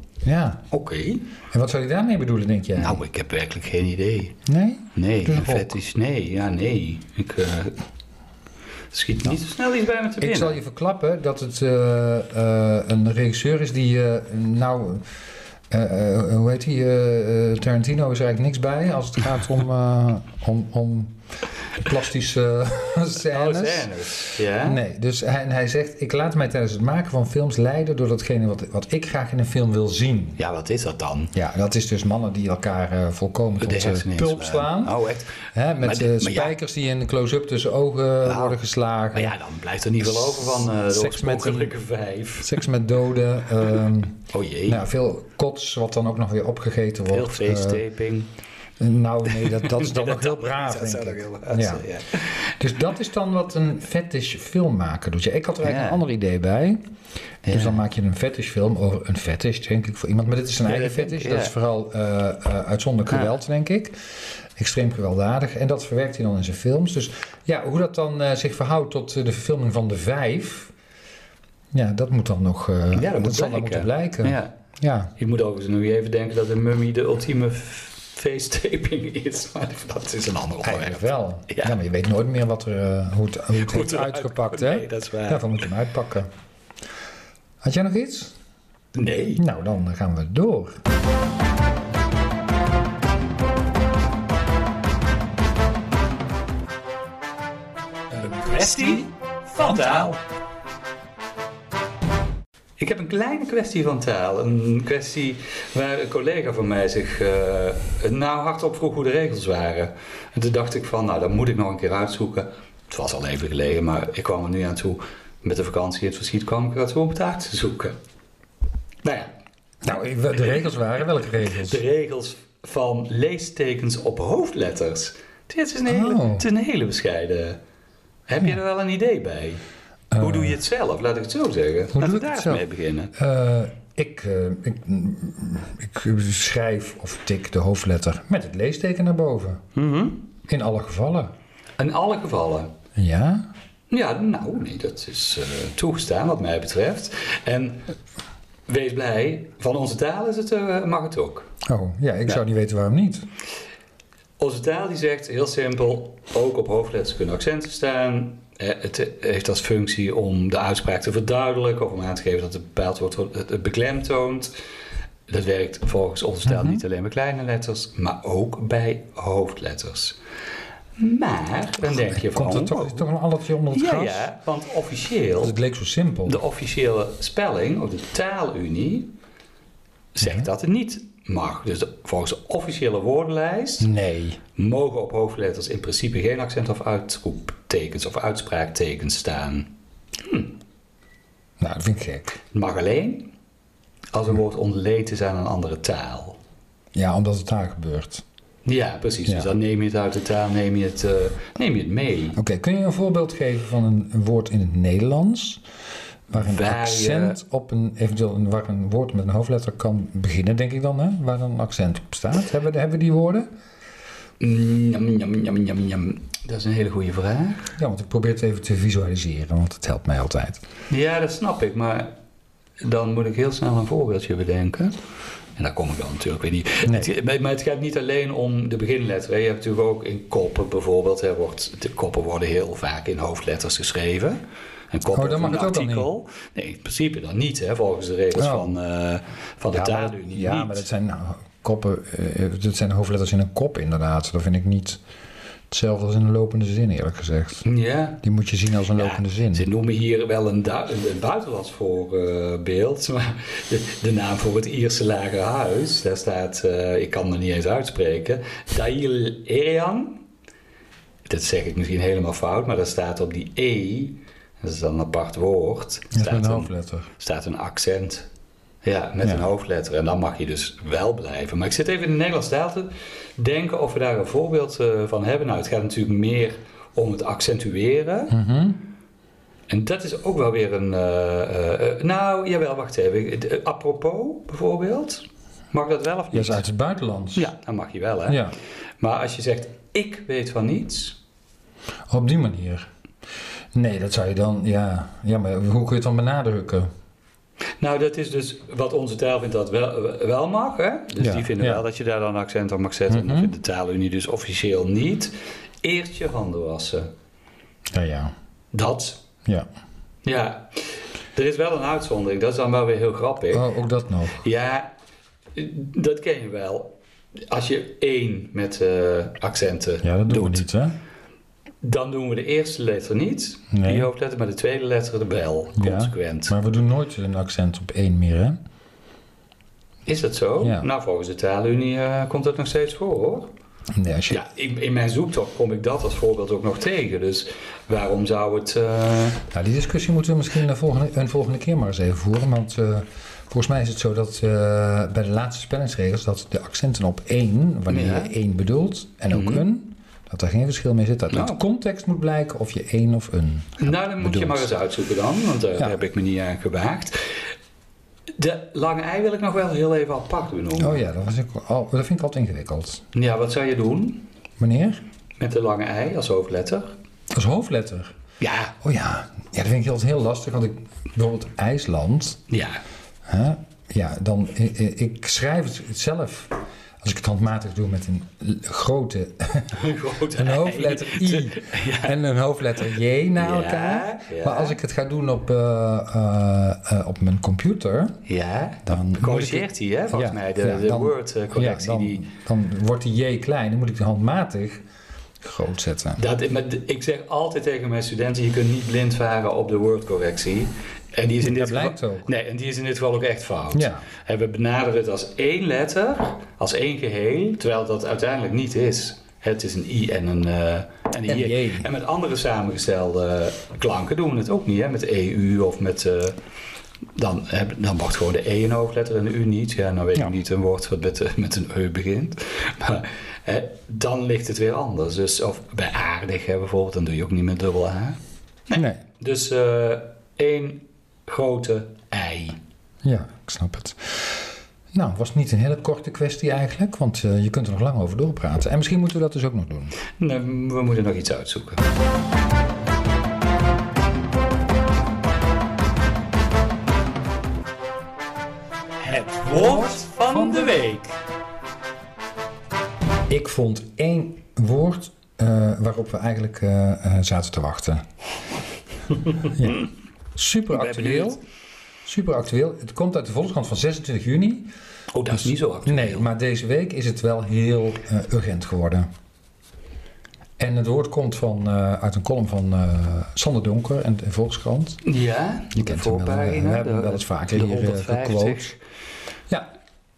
Speaker 1: oké.
Speaker 2: Ja. En wat zou hij daarmee bedoelen, denk jij?
Speaker 1: Nou, ik heb werkelijk geen idee.
Speaker 2: Nee?
Speaker 1: Nee,
Speaker 2: Dus een
Speaker 1: een vet is nee. Ja, nee. Ik eh, schiet niet zo snel iets bij me te
Speaker 2: Nou. Ik
Speaker 1: binnen.
Speaker 2: zal je verklappen dat het eh, eh, een regisseur is die, eh, nou, eh, eh, hoe heet hij? Eh, Tarantino is er eigenlijk niks bij als het gaat om, eh, om, om plastische
Speaker 1: Oh,
Speaker 2: scènes.
Speaker 1: scènes. Ja?
Speaker 2: Nee, dus hij, en hij zegt: Ik laat mij tijdens het maken van films leiden door datgene wat, wat ik graag in een film wil zien.
Speaker 1: Ja, wat is dat dan?
Speaker 2: Ja, dat is dus mannen die elkaar eh, volkomen tot de
Speaker 1: hersenen
Speaker 2: pulp
Speaker 1: inslaan.
Speaker 2: slaan.
Speaker 1: Oh, echt?
Speaker 2: Hè, met
Speaker 1: Maar dit-
Speaker 2: eh,
Speaker 1: maar ja. Nou.
Speaker 2: spijkers die in close-up tussen ogen worden
Speaker 1: Maar
Speaker 2: geslagen.
Speaker 1: ja, dan blijft er niet veel over van eh de
Speaker 2: Seks met
Speaker 1: oorspronkelijke vijf.
Speaker 2: Seks met doden. ehm,
Speaker 1: Oh jee,
Speaker 2: nou, veel kots, wat dan ook nog weer opgegeten
Speaker 1: heel
Speaker 2: wordt. Eh,
Speaker 1: feesttaping.
Speaker 2: nou, nee, dat, dat is dan nog heel braaf.
Speaker 1: dat zou
Speaker 2: denk
Speaker 1: toch
Speaker 2: ik.
Speaker 1: heel raar
Speaker 2: Ja.
Speaker 1: zijn, ja.
Speaker 2: Dus dat is dan wat een fetish filmmaker doet. Ja, ik had er eigenlijk
Speaker 1: Ja.
Speaker 2: een ander idee bij. Dus
Speaker 1: Ja.
Speaker 2: dan maak je een fetish film over een fetish, denk ik, voor iemand. Maar dit is een
Speaker 1: Ja,
Speaker 2: eigen
Speaker 1: dat denk
Speaker 2: fetish.
Speaker 1: ik,
Speaker 2: Dat
Speaker 1: ja. Ah.
Speaker 2: is vooral eh eh, uitzonderlijk
Speaker 1: Ja.
Speaker 2: geweld, denk ik. Extreem gewelddadig. En dat verwerkt hij dan in zijn films. Dus ja, hoe dat dan eh, zich verhoudt tot eh, de verfilming van De Vijf... Ja, dat moet dan nog... eh,
Speaker 1: moet
Speaker 2: dat zal dan
Speaker 1: blijken.
Speaker 2: moeten blijken. Ja.
Speaker 1: Ja. Je moet ook eens nu even denken dat een mummy de ultieme f- feesttaping is. Maar dat is een ander
Speaker 2: eigenlijk
Speaker 1: onderwerp.
Speaker 2: wel. Oh, Ja.
Speaker 1: Ja.
Speaker 2: maar je weet nooit meer wat er, eh, hoe het, hoe het
Speaker 1: Hoe
Speaker 2: heeft
Speaker 1: het eruit-
Speaker 2: uitgepakt, hè?
Speaker 1: Nee, dat is waar.
Speaker 2: Daarvan moet je hem uitpakken. Had jij nog iets?
Speaker 1: Nee.
Speaker 2: Nou, dan gaan we door.
Speaker 1: Bestie van taal. Ik heb een kleine kwestie van taal. Een kwestie waar een collega van mij zich eh, nou hardop vroeg hoe de regels waren. En toen dacht ik van, nou, dat moet ik nog een keer uitzoeken. Het was al even geleden, maar ik kwam er nu aan toe. Met de vakantie in het verschiet kwam ik er toe om het uit te zoeken. Nou ja,
Speaker 2: Nou, de regels waren welke regels?
Speaker 1: de regels van leestekens op hoofdletters. Dit is een hele,
Speaker 2: Oh.
Speaker 1: het is een hele bescheiden. Heb je er wel een idee bij? Hoe doe je het zelf? Laat ik het zo zeggen.
Speaker 2: Eh. doe
Speaker 1: Laten we
Speaker 2: ik
Speaker 1: daar
Speaker 2: het
Speaker 1: eens
Speaker 2: zelf?
Speaker 1: mee beginnen.
Speaker 2: Eh, ik, eh, ik, mm, ik schrijf of tik de hoofdletter met het leesteken naar boven. In alle gevallen.
Speaker 1: In alle gevallen.
Speaker 2: Ja?
Speaker 1: Ja, nou, nee, dat is eh, toegestaan wat mij betreft. En wees blij, van onze taal is het, eh, mag het ook.
Speaker 2: Oh, ja, ik
Speaker 1: Ja.
Speaker 2: zou niet weten waarom niet.
Speaker 1: Onze taal die zegt heel simpel, ook op hoofdletters kunnen accenten staan. Eh, Het heeft als functie om de uitspraak te verduidelijken of om aan te geven dat het bepaald wordt wat het het beklemtoont. Dat werkt volgens onze taal
Speaker 2: Mhm.
Speaker 1: niet alleen bij kleine letters, maar ook bij hoofdletters. Maar dan denk je van.
Speaker 2: Komt er toch,
Speaker 1: oh,
Speaker 2: is toch een allertje onder het
Speaker 1: ja,
Speaker 2: gras?
Speaker 1: ja, want
Speaker 2: Want
Speaker 1: officieel,
Speaker 2: het leek zo simpel.
Speaker 1: de officiële spelling, of de taalunie,
Speaker 2: Mhm.
Speaker 1: zegt dat het niet mag. Dus de- volgens de officiële woordenlijst
Speaker 2: Nee.
Speaker 1: mogen op hoofdletters in principe geen accent of uitroeptekens of uitspraaktekens staan.
Speaker 2: Nou, dat vind ik gek.
Speaker 1: Het mag alleen als een woord ontleed is aan een andere taal.
Speaker 2: Ja, omdat het daar gebeurt.
Speaker 1: Ja, precies.
Speaker 2: Ja.
Speaker 1: Dus dan neem je het uit de taal, neem je het, eh, neem je het mee.
Speaker 2: Oké, kun je een voorbeeld geven van een, een woord in het Nederlands... waar een
Speaker 1: Waar je-
Speaker 2: accent
Speaker 1: eh,
Speaker 2: op een, eventueel een, waar een woord met een hoofdletter kan beginnen, denk ik dan, hè? Waar dan een accent op staat. Hebben, we- hebben we die woorden?
Speaker 1: Njam, njam, njam, njam, njam. Dat is een hele goede vraag.
Speaker 2: Ja, want ik probeer het even te visualiseren, want het helpt mij altijd.
Speaker 1: Ja, dat snap ik, maar dan moet ik heel snel een voorbeeldje bedenken. En daar kom ik dan natuurlijk weer niet.
Speaker 2: Nee.
Speaker 1: Het- maar- maar het gaat niet alleen om de beginletter. Hè. Je hebt natuurlijk ook in koppen bijvoorbeeld. Hè, wordt, de koppen worden heel vaak in hoofdletters geschreven. Een kop
Speaker 2: Oh,
Speaker 1: of
Speaker 2: dan mag
Speaker 1: een
Speaker 2: het ook dan niet.
Speaker 1: artikel. Nee, in principe dan niet, hè, volgens de regels
Speaker 2: Oh.
Speaker 1: van, eh, van de
Speaker 2: ja, maar-
Speaker 1: taalunie.
Speaker 2: ja,
Speaker 1: niet.
Speaker 2: maar dat zijn nou, koppen, eh, dat zijn hoofdletters in een kop inderdaad. Dat vind ik niet hetzelfde als in een lopende zin, eerlijk gezegd.
Speaker 1: Ja,
Speaker 2: Die moet je zien als een
Speaker 1: Ja,
Speaker 2: lopende zin.
Speaker 1: Ze noemen hier wel een, du- een, een buitenlands voorbeeld, maar de, de naam voor het Ierse lage huis, daar staat, eh, ik kan het niet eens uitspreken, Dail Erian. Dat zeg ik misschien helemaal fout, maar daar staat op die E, dat is dan een apart woord,
Speaker 2: Dat is met
Speaker 1: staat
Speaker 2: een
Speaker 1: een,
Speaker 2: hoofdletter.
Speaker 1: staat een accent. Ja, met
Speaker 2: Ja.
Speaker 1: een hoofdletter. En dan mag je dus wel blijven. Maar ik zit even in de Nederlandse taal te denken of we daar een voorbeeld eh, van hebben. Nou, het gaat natuurlijk meer om het accentueren.
Speaker 2: Mhm.
Speaker 1: En dat is ook wel weer een. eh, eh, eh, nou, jawel, wacht even. Ik- eh, apropos bijvoorbeeld. Mag dat wel of
Speaker 2: Ja,
Speaker 1: niet?
Speaker 2: is uit het buitenlands.
Speaker 1: Ja, dat mag je wel, hè?
Speaker 2: Ja,
Speaker 1: Maar als je zegt: Ik weet van niets.
Speaker 2: op die manier. Nee, dat zou je dan, ja. Ja, maar hoe kun je het dan benadrukken?
Speaker 1: Nou, dat is dus wat onze taal vindt dat wel, wel mag, hè? Dus
Speaker 2: Ja,
Speaker 1: die vinden
Speaker 2: ja.
Speaker 1: wel dat je daar dan accent op mag zetten. En
Speaker 2: Mhm.
Speaker 1: dat vindt de taalunie dus officieel niet. Eerst je handen wassen.
Speaker 2: Ja, ja.
Speaker 1: Dat.
Speaker 2: ja.
Speaker 1: Ja. Er is wel een uitzondering. Dat is dan wel weer heel grappig.
Speaker 2: Oh, ook dat nog.
Speaker 1: Ja, dat ken je wel. Als je één met eh, accenten
Speaker 2: Ja, dat doen
Speaker 1: doet,
Speaker 2: we niet, hè?
Speaker 1: dan doen we de eerste letter niet,
Speaker 2: Nee.
Speaker 1: die hoofdletter, maar de tweede letter wel,
Speaker 2: Ja.
Speaker 1: consequent.
Speaker 2: Maar we doen nooit een accent op één meer, hè?
Speaker 1: Is dat zo?
Speaker 2: Ja.
Speaker 1: Nou, volgens de taalunie eh, komt dat nog steeds voor, hoor.
Speaker 2: Nee, als je...
Speaker 1: Ja, in, in mijn zoektocht kom ik dat als voorbeeld ook nog tegen. Dus waarom zou het... eh,
Speaker 2: Nou, die discussie moeten we misschien een volgende, een volgende keer maar eens even voeren. Want eh, volgens mij is het zo dat eh, bij de laatste spellingsregels... dat de accenten op één, wanneer
Speaker 1: Ja.
Speaker 2: je één bedoelt, en ook
Speaker 1: Mhm.
Speaker 2: een... dat daar geen verschil mee zit. Dat uit
Speaker 1: Nou.
Speaker 2: context moet blijken of je één of een...
Speaker 1: nou, dan moet je
Speaker 2: bedoeld.
Speaker 1: maar eens uitzoeken dan, want eh, daar
Speaker 2: Ja.
Speaker 1: heb ik me niet aan gewaagd. De lange ei wil ik nog wel heel even apart benoemen.
Speaker 2: Oh ja, dat, was ik, oh, dat vind ik altijd ingewikkeld.
Speaker 1: Ja, wat zou je doen
Speaker 2: Meneer,
Speaker 1: met de lange ei als hoofdletter?
Speaker 2: als hoofdletter.
Speaker 1: Ja,
Speaker 2: Oh ja, ja dat vind ik altijd heel lastig. Want ik, bijvoorbeeld IJsland...
Speaker 1: ja.
Speaker 2: Hè? Ja, dan, ik, ik schrijf het zelf... Als ik het handmatig doe met een l- grote
Speaker 1: Een grote
Speaker 2: Een
Speaker 1: ei.
Speaker 2: hoofdletter I en een hoofdletter J na
Speaker 1: Ja,
Speaker 2: elkaar.
Speaker 1: ja.
Speaker 2: Maar als ik het ga doen op, eh, eh, eh, op mijn computer,
Speaker 1: Ja,
Speaker 2: dan.
Speaker 1: corrigeert hij, hè, volgens
Speaker 2: Ja,
Speaker 1: mij, de,
Speaker 2: ja,
Speaker 1: de
Speaker 2: dan-
Speaker 1: Word-correctie.
Speaker 2: ja, dan,
Speaker 1: die...
Speaker 2: dan wordt die J klein. Dan moet ik handmatig groot zetten.
Speaker 1: Dat, maar d- ik zeg altijd tegen mijn studenten, je kunt niet blind varen op de woordcorrectie. En die is in dit
Speaker 2: Dat
Speaker 1: geval,
Speaker 2: blijkt ook.
Speaker 1: nee, en die is in dit geval ook echt fout.
Speaker 2: Ja,
Speaker 1: En we benaderen het als één letter, als één geheel, terwijl dat uiteindelijk niet is. Het is een i en een, eh en een
Speaker 2: En
Speaker 1: j.
Speaker 2: jee.
Speaker 1: En met andere samengestelde klanken doen we het ook niet, hè? met EU of met. eh, dan, heb- dan wordt gewoon de E een hoofdletter en de U niet. Ja, nou weet
Speaker 2: Ja.
Speaker 1: ik niet een woord wat met, eh, met een E begint. Maar hè, dan ligt het weer anders. Dus, of bij aardig hè, bijvoorbeeld, dan doe je ook niet met dubbel A.
Speaker 2: nee.
Speaker 1: Dus eh, één grote ei.
Speaker 2: Ja, ik snap het. Nou, was niet een hele korte kwestie eigenlijk, want eh, je kunt er nog lang over doorpraten. En misschien moeten we dat dus ook nog doen.
Speaker 1: Nee,
Speaker 2: Nou,
Speaker 1: we moeten nog iets uitzoeken. Het woord van de week.
Speaker 2: Ik vond één woord eh, waarop we eigenlijk eh, eh, zaten te wachten. ja. Super
Speaker 1: ben
Speaker 2: actueel.
Speaker 1: benieuwd.
Speaker 2: Super actueel. Het komt uit de Volkskrant van 26 juni.
Speaker 1: Oh, dat is niet zo actueel.
Speaker 2: Nee, maar deze week is het wel heel eh, urgent geworden. En het woord komt van, eh, uit een column van eh Sander Donker en de Volkskrant.
Speaker 1: Ja,
Speaker 2: Je kent hem wel. eh,
Speaker 1: voorpagina,
Speaker 2: we hebben
Speaker 1: de-
Speaker 2: hem wel eens vaker
Speaker 1: de
Speaker 2: hier eh,
Speaker 1: 150.
Speaker 2: gequote. Ja,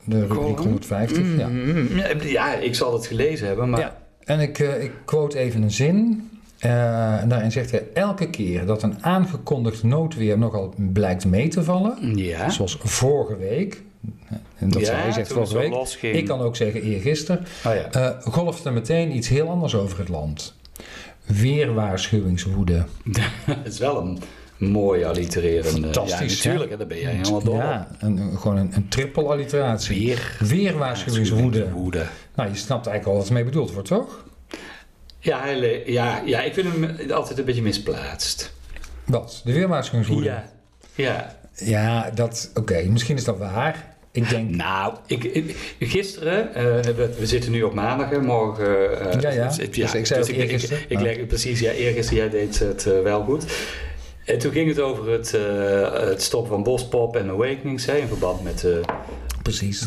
Speaker 2: de rubriek
Speaker 1: Column.
Speaker 2: 150. Ja.
Speaker 1: Mm, ja, ik zal het gelezen hebben, maar...
Speaker 2: Ja. En ik, eh, ik quote even een zin. Eh, en daarin zegt hij: Elke keer dat een aangekondigd noodweer nogal blijkt mee te vallen,
Speaker 1: Ja.
Speaker 2: zoals vorige week. En dat
Speaker 1: Ja,
Speaker 2: zei hij zegt
Speaker 1: toen het
Speaker 2: vorige
Speaker 1: zo
Speaker 2: week.
Speaker 1: losging.
Speaker 2: Ik kan ook zeggen eergisteren.
Speaker 1: Oh ja.
Speaker 2: eh golft er meteen iets heel anders over het land. Weer waarschuwingswoede.
Speaker 1: Het is wel een mooi allitererende... Ja,
Speaker 2: Fantastisch, hè?
Speaker 1: natuurlijk, hè, daar ben jij helemaal dol op.
Speaker 2: Ja, een, een- gewoon een, een triple alliteratie.
Speaker 1: Weer
Speaker 2: Weer waarschuwingswoede.
Speaker 1: Woede.
Speaker 2: Nou, je snapt eigenlijk al wat ermee bedoeld wordt, toch?
Speaker 1: Ja, hij le- ja, ja, ik vind hem altijd een beetje misplaatst.
Speaker 2: Wat? De weer waarschuwingswoede?
Speaker 1: Ja. Ja.
Speaker 2: Ja, dat, oké, misschien is dat waar. Ik denk,
Speaker 1: Nou, ik, ik- gisteren, eh, we, we zitten nu op maandag, hè, morgen. eh,
Speaker 2: Ja, ja.
Speaker 1: dus ik-
Speaker 2: Dus ik zei ook
Speaker 1: ik, ik,
Speaker 2: eergisteren,
Speaker 1: ik
Speaker 2: maar-
Speaker 1: leg het precies, ja, eergisteren, jij deed het eh, wel goed. En toen ging het over het, eh, het stoppen van Bospop en Awakenings, hè, in verband met de
Speaker 2: precies.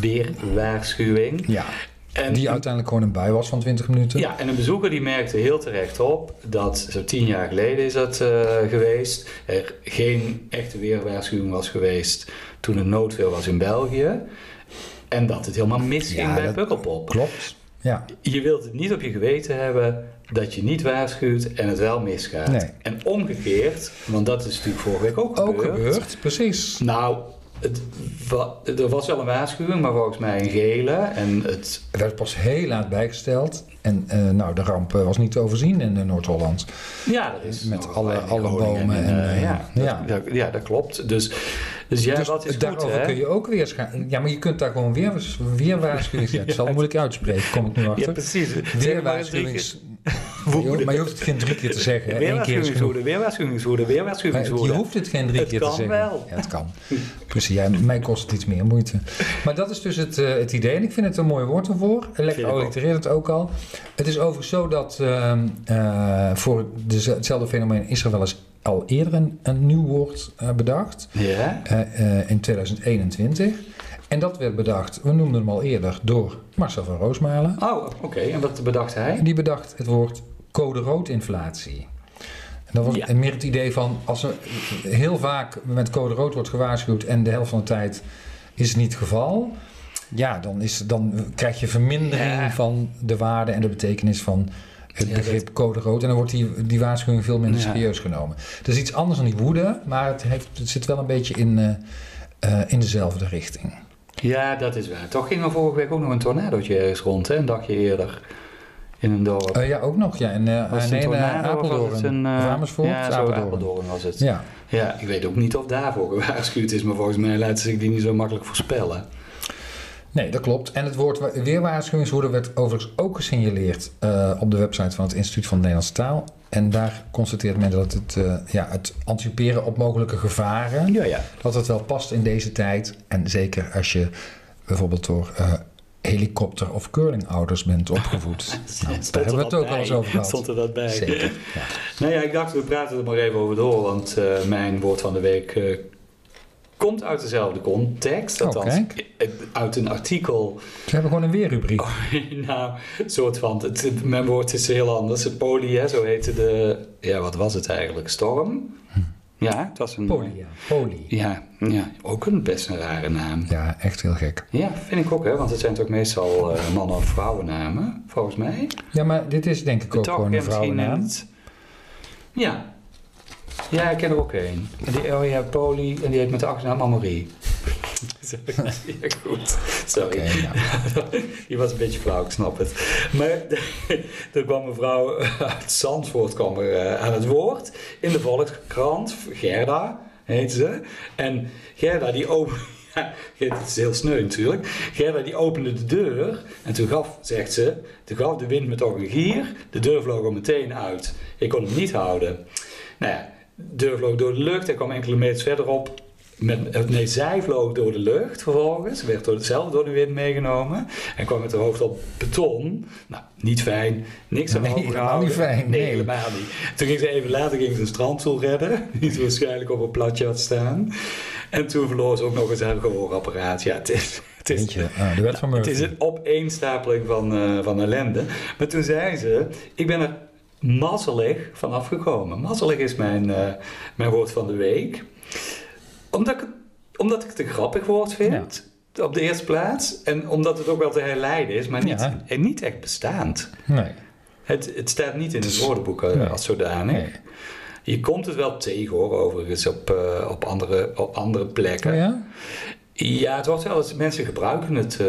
Speaker 1: weerwaarschuwing.
Speaker 2: Ja,
Speaker 1: En
Speaker 2: die uiteindelijk gewoon een bui was van 20 minuten.
Speaker 1: Ja, en een bezoeker die merkte heel terecht op dat zo tien jaar geleden is dat eh, geweest. Er geen echte weerwaarschuwing was geweest toen er noodweer was in België. En dat het helemaal misging
Speaker 2: Ja,
Speaker 1: bij
Speaker 2: dat-
Speaker 1: Pukkelpop.
Speaker 2: Klopt. Ja,
Speaker 1: Je wilt het niet op je geweten hebben dat je niet waarschuwt en het wel misgaat.
Speaker 2: Nee.
Speaker 1: En omgekeerd, want dat is natuurlijk vorige week ook
Speaker 2: ook
Speaker 1: gebeurd.
Speaker 2: gebeurd, precies.
Speaker 1: Nou, het, wa- er was wel een waarschuwing, maar volgens mij een gele. En het
Speaker 2: Er werd pas heel laat bijgesteld. En eh, nou, de ramp eh, was niet te overzien in eh, Noord-Holland.
Speaker 1: Ja, dat is.
Speaker 2: Met
Speaker 1: nog
Speaker 2: alle-
Speaker 1: wel in
Speaker 2: alle
Speaker 1: Groningen
Speaker 2: bomen en,
Speaker 1: eh,
Speaker 2: eh,
Speaker 1: ja,
Speaker 2: ja.
Speaker 1: Dat, dat- ja, dat klopt. Dus, dus ja,
Speaker 2: dus
Speaker 1: dat is goed,
Speaker 2: daarover
Speaker 1: hè?
Speaker 2: kun je ook weer scha- Ja, maar je kunt daar gewoon weer, weer waarschuwing zetten. Het zal moeilijk uitspreken, kom ik nu
Speaker 1: Ja,
Speaker 2: achter.
Speaker 1: precies.
Speaker 2: weer
Speaker 1: Zeg maar eens drie keer.
Speaker 2: waarschuwings... Maar je- maar je hoeft het geen drie keer te zeggen. hè. Eén keer is genoeg. Eh,
Speaker 1: Weerwaarschuwingswoede, weerwaarschuwingswoede, weerwaarschuwingswoede.
Speaker 2: Maar Je hoeft het geen drie
Speaker 1: Het
Speaker 2: keer
Speaker 1: kan
Speaker 2: te zeggen.
Speaker 1: wel.
Speaker 2: Ja, het kan. Precies, ja, mij kost het iets meer moeite. Maar dat is dus het, eh, het idee. En ik vind het een mooi woord ervoor.
Speaker 1: Vind
Speaker 2: Lekker
Speaker 1: ik ook.
Speaker 2: allitereert het ook al. Het is overigens zo dat ehm, eh, voor deze- hetzelfde fenomeen is er wel eens al eerder een, een nieuw woord eh, bedacht.
Speaker 1: Ja,
Speaker 2: eh, eh, in 2021. En dat werd bedacht, we noemden hem al eerder, door Marcel van Roosmalen.
Speaker 1: oh, oké. En wat bedacht hij?
Speaker 2: Die bedacht het woord code rood inflatie. En dat was
Speaker 1: Ja.
Speaker 2: meer het idee van als er heel vaak met code rood wordt gewaarschuwd en de helft van de tijd is het niet het geval. Ja, dan, is, dan krijg je vermindering
Speaker 1: Ja.
Speaker 2: van de waarde en de betekenis van het
Speaker 1: Ja,
Speaker 2: begrip code rood. En dan wordt die, die waarschuwing veel minder
Speaker 1: Ja.
Speaker 2: serieus genomen. Het is iets anders dan die woede, maar het, heeft, het zit wel een beetje in, eh, eh, in dezelfde richting.
Speaker 1: Ja, dat is waar. Toch ging er vorige week ook nog een tornadootje ergens rond, hè? Een dagje eerder. In een dorp.
Speaker 2: Eh, ja, ook nog. Ja, en, eh
Speaker 1: Was het
Speaker 2: nee, eh,
Speaker 1: een tornado of was
Speaker 2: Apeldoorn.
Speaker 1: het een, eh,
Speaker 2: Of Amersfoort,
Speaker 1: ja, zo,
Speaker 2: Apeldoorn.
Speaker 1: Apeldoorn was het. Ja.
Speaker 2: Ja.
Speaker 1: ik weet ook niet of daarvoor gewaarschuwd is, maar volgens mij laten ze zich die niet zo makkelijk voorspellen.
Speaker 2: Nee, dat klopt. En het woord wa- weerwaarschuwingswoede werd overigens ook gesignaleerd eh, op de website van het Instituut van de Nederlandse Taal. En daar constateert men dat het, eh, ja, het anticiperen op mogelijke gevaren,
Speaker 1: Ja, ja.
Speaker 2: dat het wel past in deze tijd. En zeker als je bijvoorbeeld door eh, helikopter- of curlingouders bent opgevoed. Nou,
Speaker 1: Stond er
Speaker 2: daar hebben we het
Speaker 1: dat
Speaker 2: ook al eens
Speaker 1: bij?
Speaker 2: over gehad.
Speaker 1: Stond er dat bij?
Speaker 2: Zeker. Ja.
Speaker 1: Nou ja, ik dacht, we praten er maar even over door, want eh, mijn woord van de week eh, komt uit dezelfde context,
Speaker 2: Oh,
Speaker 1: althans
Speaker 2: kijk.
Speaker 1: eh, uit een artikel.
Speaker 2: Ze hebben gewoon een weerrubriek.
Speaker 1: nou, soort van, het- het, mijn woord is heel anders. Het poli, hè, zo heette de, ja, wat was het eigenlijk? Storm? Ja, het was een...
Speaker 2: Hm. Poli, ja. Poli.
Speaker 1: Ja, ja, ook een best een rare naam.
Speaker 2: Ja, echt heel gek.
Speaker 1: Ja, vind ik ook, hè, want het zijn toch meestal eh, mannen- of vrouwennamen, volgens mij.
Speaker 2: Ja, maar dit is denk ik ook
Speaker 1: Toch,
Speaker 2: gewoon
Speaker 1: ja,
Speaker 2: een
Speaker 1: misschien
Speaker 2: vrouwennaam.
Speaker 1: het- Ja. Ja, ik ken er ook een. En Die, oh ja, Poli, en die heet met de achternaam Amorie. ja, goed. Sorry.
Speaker 2: Oké, nou.
Speaker 1: Die was een beetje flauw, ik snap het. Maar er kwam een vrouw uit Zandvoort kwam er, eh, aan het woord. In de Volkskrant, Gerda heet ze. En Gerda die opende... Ja, het is heel sneu natuurlijk. Gerda die opende de deur en toen gaf, zegt ze, toen gaf de wind me toch een gier. De deur vloog er meteen uit. Ik kon hem niet houden. Nou ja, de deur vloog door de lucht en kwam enkele meters verderop. Met, eh, nee, zij vloog door de lucht vervolgens, werd door, zelf door de wind meegenomen en kwam met haar hoofd op beton. Nou, niet fijn, niks aan
Speaker 2: Nee,
Speaker 1: overgehouden.
Speaker 2: helemaal niet fijn, nee.
Speaker 1: helemaal niet. Toen ging ze even later ging ze een strandstoel redden, die ze waarschijnlijk op een platje had staan. En toen verloor ze ook nog eens haar gehoorapparaat. Ja, het is, het is
Speaker 2: Weet je, ah, de wet van
Speaker 1: het is
Speaker 2: Murphy.
Speaker 1: een opeenstapeling van, eh, van ellende. Maar toen zei ze, ik ben er mazzelig van afgekomen. Mazzelig is mijn, eh, mijn woord van de week. Omdat ik, het- omdat ik het een grappig woord vind, op de eerste plaats. En omdat het ook wel te herleiden is, maar niet,
Speaker 2: Ja.
Speaker 1: en niet echt bestaand.
Speaker 2: Nee,
Speaker 1: Het, het staat niet in het woordenboek eh,
Speaker 2: Nee.
Speaker 1: als zodanig.
Speaker 2: nee.
Speaker 1: Je komt het wel tegen hoor, overigens, op, eh, op, andere, op andere plekken.
Speaker 2: Oh ja?
Speaker 1: Ja, het wordt wel eens, mensen gebruiken het. eh,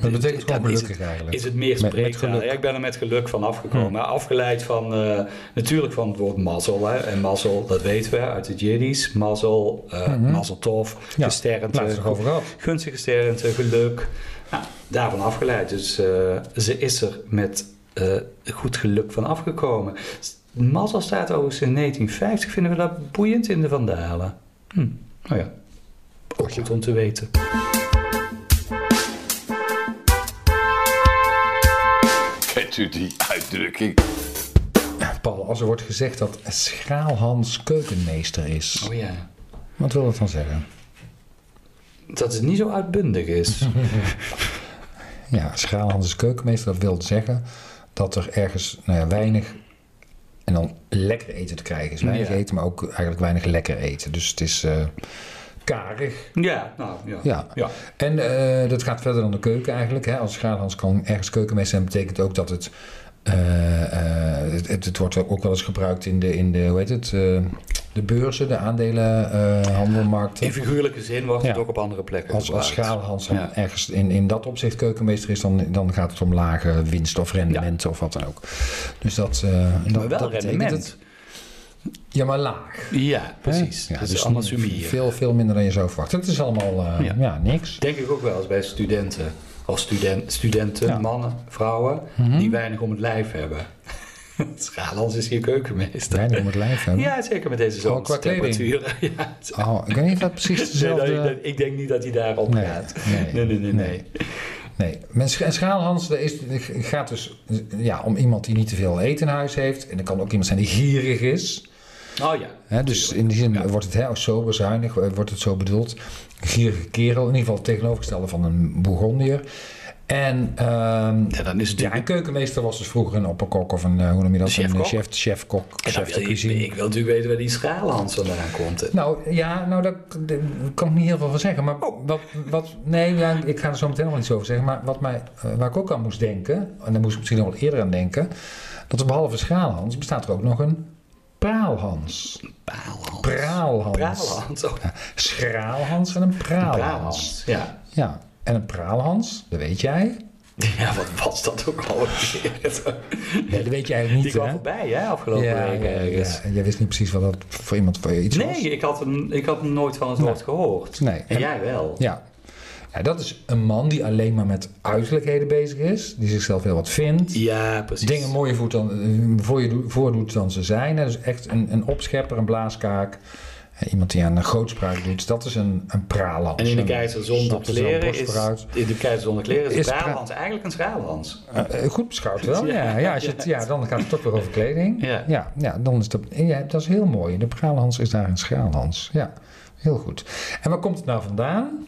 Speaker 2: Dat betekent
Speaker 1: dat
Speaker 2: gewoon
Speaker 1: is
Speaker 2: gelukkig eigenlijk.
Speaker 1: is het meer
Speaker 2: Met- met
Speaker 1: spreektaal.
Speaker 2: geluk. Hm.
Speaker 1: Ja, ik ben er met geluk van afgekomen. Maar Afgeleid van, eh, natuurlijk van het woord mazzel. Hè. En mazzel, dat weten we uit de Jiddisch. Mazzel, eh
Speaker 2: Mhm.
Speaker 1: mazzeltof,
Speaker 2: Ja,
Speaker 1: gesternte,
Speaker 2: Laatst nog over gehad.
Speaker 1: eh, gunstig gesternte, geluk. Nou, daarvan afgeleid. Dus eh, ze is er met eh, goed geluk van afgekomen. S- Mazzel staat overigens in 1950. Vinden we dat boeiend in de Vandalen? Hm. Nou ja, ook goed om te weten.
Speaker 3: Kent u die uitdrukking?
Speaker 2: Paul, als er wordt gezegd dat Schraalhans keukenmeester is,
Speaker 1: Oh ja.
Speaker 2: wat wil dat dan zeggen?
Speaker 1: Dat het niet zo uitbundig is.
Speaker 2: Mhm. Ja, Schraalhans is keukenmeester, dat wil zeggen dat er ergens nou ja, weinig en dan lekker eten te krijgen is. Weinig
Speaker 1: Ja.
Speaker 2: eten, maar ook eigenlijk weinig lekker eten. Dus het is eh, karig.
Speaker 1: Ja, nou ja.
Speaker 2: Ja.
Speaker 1: Ja.
Speaker 2: En eh, dat gaat verder dan de keuken eigenlijk. Hè? Als Schraalhans kan ergens keukenmeester zijn, betekent ook dat het, eh, eh, het, het- het wordt ook wel eens gebruikt in de, in de hoe heet het, eh, de beurzen, de aandelenhandelmarkten.
Speaker 1: In figuurlijke zin wordt het
Speaker 2: Ja.
Speaker 1: ook op andere plekken
Speaker 2: als, als
Speaker 1: gebruikt.
Speaker 2: Schraalhans
Speaker 1: Ja.
Speaker 2: ergens in, in dat opzicht keukenmeester is, dan, dan gaat het om lage winst of rendementen of wat dan ook. Dus dat, eh,
Speaker 1: Maar
Speaker 2: dat,
Speaker 1: wel
Speaker 2: dat betekent het.
Speaker 1: rendement.
Speaker 2: Ja, maar laag.
Speaker 1: Ja, precies.
Speaker 2: Ja,
Speaker 1: dat
Speaker 2: dus
Speaker 1: is allemaal
Speaker 2: niet-
Speaker 1: sumier.
Speaker 2: Veel, veel minder dan je zou verwachten. Het is allemaal eh,
Speaker 1: Ja.
Speaker 2: ja. niks.
Speaker 1: Denk ik ook wel eens bij studenten. Als student, studenten,
Speaker 2: Ja. Mhm.
Speaker 1: mannen, vrouwen, die weinig om het lijf hebben. Schalans is hier keukenmeester.
Speaker 2: Weinig om het lijf hebben.
Speaker 1: Ja, zeker met deze
Speaker 2: qua
Speaker 1: zomertemperaturen. Ja, het-
Speaker 2: Oh, ik weet niet of dat precies
Speaker 1: nee, dat-
Speaker 2: dezelfde...
Speaker 1: dat- ik denk niet dat hij daarop
Speaker 2: Nee,
Speaker 1: gaat.
Speaker 2: nee,
Speaker 1: nee, nee, nee. nee.
Speaker 2: nee. Nee, men scha- en Schaalhans dat is, dat gaat dus ja, om iemand die niet te veel eten in huis heeft. En dat kan ook iemand zijn die gierig is.
Speaker 1: Oh ja.
Speaker 2: Hè, dus in die zin wordt het hè, ook zo bezuinig, eh, wordt het zo bedoeld. Gierige kerel, in ieder geval het tegenovergestelde van een Bourgondier. En ehm,
Speaker 1: ja, dan is het
Speaker 2: ja, een keukenmeester was dus vroeger een opperkok of een, eh, hoe noem je dat?
Speaker 1: Chefkok.
Speaker 2: Een eh, chef, chefkok,
Speaker 1: En dan
Speaker 2: chef de
Speaker 1: wil je-
Speaker 2: cuisine.
Speaker 1: ik wil natuurlijk weten waar die Schalans vandaan komt.
Speaker 2: Nou ja, nou, daar daar kan ik niet heel veel van zeggen. Maar
Speaker 1: Oh.
Speaker 2: wat, wat, nee, ja, ik ga er zo meteen nog wel iets over zeggen. Maar wat mij, eh, waar ik ook aan moest denken, en daar moest ik misschien nog wel eerder aan denken, dat er behalve schraalhans bestaat er ook nog een praalhans.
Speaker 1: Paalhans.
Speaker 2: Praalhans.
Speaker 1: Praalhans. Oh,
Speaker 2: Schraalhans en een praalhans.
Speaker 1: Brabants. Ja.
Speaker 2: Ja, en een praalhans, dat weet jij.
Speaker 1: ja, wat was dat ook al?
Speaker 2: Nee, dat weet jij eigenlijk
Speaker 1: Die
Speaker 2: niet,
Speaker 1: kwam
Speaker 2: hè?
Speaker 1: voorbij, hè,
Speaker 2: Ja,
Speaker 1: afgelopen week
Speaker 2: ja,
Speaker 1: ergens.
Speaker 2: ja. En jij wist niet precies wat dat voor iemand voor je iets was.
Speaker 1: Nee, ik had, hem, ik had hem nooit van het woord gehoord.
Speaker 2: Nee.
Speaker 1: En jij wel.
Speaker 2: Ja. ja, dat is een man die alleen maar met uiterlijkheden bezig is. Die zichzelf heel wat vindt.
Speaker 1: Ja, precies.
Speaker 2: Dingen mooier voert dan, eh, voor je doet- voordoet dan ze zijn. hè. Dus echt een, een opschepper, een blaaskaak. Eh, Iemand die aan een grootspraak doet. Dat is een, een pralans.
Speaker 1: En in de
Speaker 2: Een-
Speaker 1: keizer zonder
Speaker 2: snapt er zo'n
Speaker 1: kleren
Speaker 2: borst
Speaker 1: is,
Speaker 2: vooruit.
Speaker 1: in de keizer zonder kleren is,
Speaker 2: Is pra-
Speaker 1: Brabants eigenlijk een Schraalhans.
Speaker 2: Eh, eh, goed beschouwd wel, ja. Ja, als je het- ja, dan gaat het toch weer over kleding.
Speaker 1: Ja.
Speaker 2: ja, ja, dan is dat, ja, dat is heel mooi. De praalhans is daar een schraalhans. Ja. Heel goed. En waar komt het nou vandaan?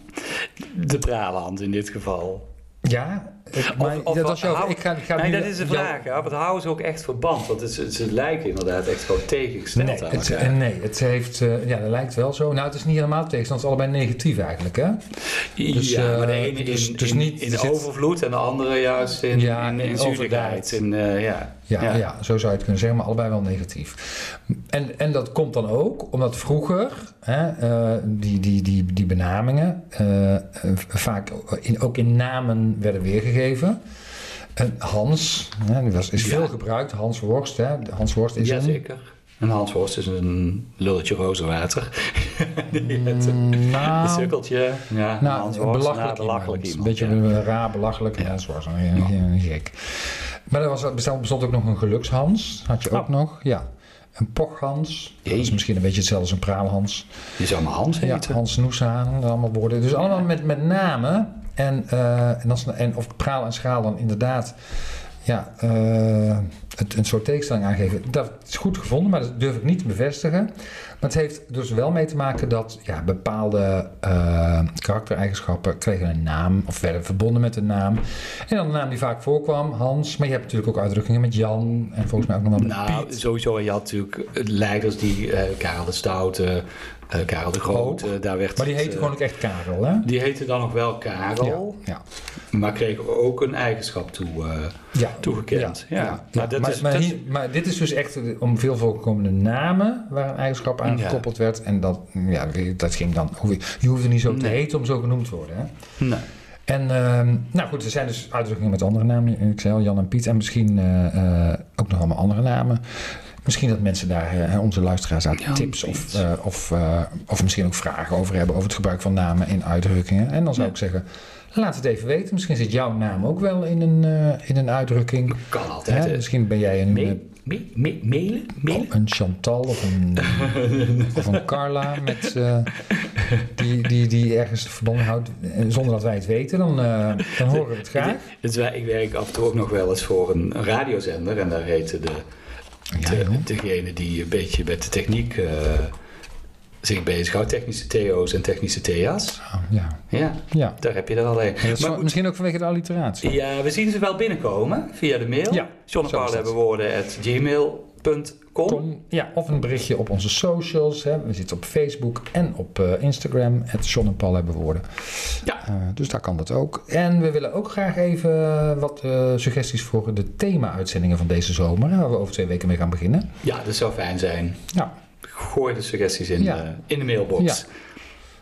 Speaker 1: De pralehand in dit geval.
Speaker 2: Ja, ik, maar dat was jouw...
Speaker 1: hou-
Speaker 2: ik ga, ik ga
Speaker 1: nee,
Speaker 2: nu
Speaker 1: dat is de
Speaker 2: jou-
Speaker 1: vraag. Ja, want houden ze ook echt verband? Want het, ze, ze lijken inderdaad echt gewoon tegengesteld
Speaker 2: Nee,
Speaker 1: aan
Speaker 2: het,
Speaker 1: elkaar.
Speaker 2: eh, nee, het heeft, eh, ja, dat lijkt wel zo. Nou, het is niet helemaal tegenstand, het is allebei negatief eigenlijk, hè? dus,
Speaker 1: ja, maar de
Speaker 2: eh,
Speaker 1: ene
Speaker 2: dus-
Speaker 1: in,
Speaker 2: dus
Speaker 1: in-
Speaker 2: niet-
Speaker 1: in
Speaker 2: er zit-
Speaker 1: overvloed en de andere juist in,
Speaker 2: Ja,
Speaker 1: in, in,
Speaker 2: in
Speaker 1: zuurigheid. In, eh, ja.
Speaker 2: Ja, ja. zo zou je het kunnen zeggen, maar allebei wel negatief. En, en dat komt dan ook omdat vroeger hè, eh, die, die, die, die benamingen eh, eh, vaak in, ook in namen werden weergegeven. En Hans, hè, die was, is
Speaker 1: Ja.
Speaker 2: veel gebruikt, Hans Worst. Hè. Hans Worst is een...
Speaker 1: Jazeker. En Hans Worst is een lulletje rozenwater. Die heeft een
Speaker 2: Nou,
Speaker 1: sukkeltje. Ja,
Speaker 2: Nou,
Speaker 1: Hans
Speaker 2: een
Speaker 1: Worst,
Speaker 2: belachelijk,
Speaker 1: nou, belachelijk
Speaker 2: iemand.
Speaker 1: iemand.
Speaker 2: Een beetje
Speaker 1: ja.
Speaker 2: een raar, belachelijk ja. mens was. Een, een- een gek. Maar er was, er bestond, bestond ook nog een gelukshans. Had je ook
Speaker 1: Oh.
Speaker 2: nog. Ja. Een pochhans. Dat
Speaker 1: Jee.
Speaker 2: is misschien een beetje hetzelfde als een praalhans.
Speaker 1: Je zou maar Hans
Speaker 2: Ja,
Speaker 1: heten.
Speaker 2: Hans Noeshaan, dat allemaal woorden. Dus allemaal met, met namen. En, eh, en, als, en of praal en schaal dan inderdaad ja, eh, het, een soort tegenstelling aangeven. Dat is goed gevonden, maar dat durf ik niet te bevestigen. Maar het heeft dus wel mee te maken dat ja, bepaalde eh, karaktereigenschappen kregen een naam of werden verbonden met een naam. En dan een naam die vaak voorkwam, Hans. Maar je hebt natuurlijk ook uitdrukkingen met Jan en volgens mij ook nog wel met
Speaker 1: Nou,
Speaker 2: Piet.
Speaker 1: sowieso. Je had natuurlijk leiders die eh, Karel de Stoute, eh, Karel de Grote. daar werd
Speaker 2: Maar die
Speaker 1: het,
Speaker 2: heette
Speaker 1: eh,
Speaker 2: gewoon ook echt Karel, hè?
Speaker 1: Die heette dan nog wel Karel,
Speaker 2: Ja.
Speaker 1: maar kreeg ook een eigenschap toe. eh,
Speaker 2: ja.
Speaker 1: toegekend. Ja,
Speaker 2: Ja,
Speaker 1: Maar, Nou, dat
Speaker 2: maar,
Speaker 1: is,
Speaker 2: maar
Speaker 1: dat is-
Speaker 2: hier- maar dit is dus echt om veel voorkomende namen waar een eigenschap aan
Speaker 1: Ja.
Speaker 2: gekoppeld werd. En dat, ja, dat ging dan. Je hoefde niet zo te
Speaker 1: Nee.
Speaker 2: heten om zo genoemd te worden. Hè?
Speaker 1: Nee.
Speaker 2: En ehm, nou goed, er zijn dus uitdrukkingen met andere namen. Ik zei al Jan en Piet en misschien eh, eh, ook nog allemaal andere namen. Misschien dat mensen daar, eh, onze luisteraars, daar
Speaker 1: Jan,
Speaker 2: tips
Speaker 1: Piet.
Speaker 2: of, eh, of, eh, of misschien ook vragen over hebben over het gebruik van namen in uitdrukkingen. En dan zou
Speaker 1: Ja.
Speaker 2: ik zeggen, laat het even weten. Misschien zit jouw naam ook wel in een, eh, in een uitdrukking.
Speaker 1: kan altijd.
Speaker 2: Hè,
Speaker 1: hè.
Speaker 2: misschien ben jij een, eh,
Speaker 1: Mee- mee- mee- Mailen? Mailen?
Speaker 2: oh, een Chantal of een, of een Carla met, eh, die, die, die ergens verband houdt eh, zonder dat wij het weten. Dan, eh, dan horen we het graag.
Speaker 1: Dus wij, ik werk af en toe ook nog wel eens voor een radiozender. En daar heette de,
Speaker 2: Ja,
Speaker 1: de-
Speaker 2: joh.
Speaker 1: degene die een beetje met de techniek eh, zich bezighoudt. Technische TO's en technische TA's.
Speaker 2: Ah, ja.
Speaker 1: Ja,
Speaker 2: ja.
Speaker 1: daar heb je er al een.
Speaker 2: Ja, dat is
Speaker 1: Maar
Speaker 2: wel-
Speaker 1: goed, Eh,
Speaker 2: misschien ook vanwege de alliteratie.
Speaker 1: ja, we zien ze wel binnenkomen via de mail.
Speaker 2: Ja,
Speaker 1: John en
Speaker 2: zo is
Speaker 1: Paul
Speaker 2: dat.
Speaker 1: hebben woorden at gmail.com.
Speaker 2: Kom, ja, of een berichtje op onze socials. Hè. We zitten op Facebook en op eh, Instagram. Het John en Paul hebben woorden.
Speaker 1: Ja.
Speaker 2: Eh, dus daar kan dat ook. En we willen ook graag even eh, wat eh, suggesties voor de thema-uitzendingen van deze zomer. Waar we over twee weken mee gaan beginnen.
Speaker 1: Ja, dat zou fijn zijn.
Speaker 2: Ja.
Speaker 1: Gooi de suggesties in,
Speaker 2: Ja.
Speaker 1: eh, in de mailbox.
Speaker 2: Ja.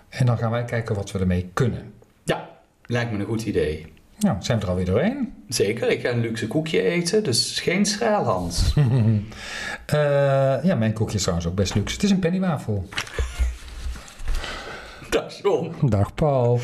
Speaker 2: En dan gaan wij kijken wat we ermee kunnen.
Speaker 1: ja, lijkt me een goed idee.
Speaker 2: Nou, zijn we er alweer doorheen?
Speaker 1: Zeker, ik ga een luxe koekje eten, dus geen straalhans.
Speaker 2: Hm. Eh, ja, mijn koekje is trouwens ook best luxe. Het is een pennywafel.
Speaker 1: Dag John.
Speaker 2: Dag Paul.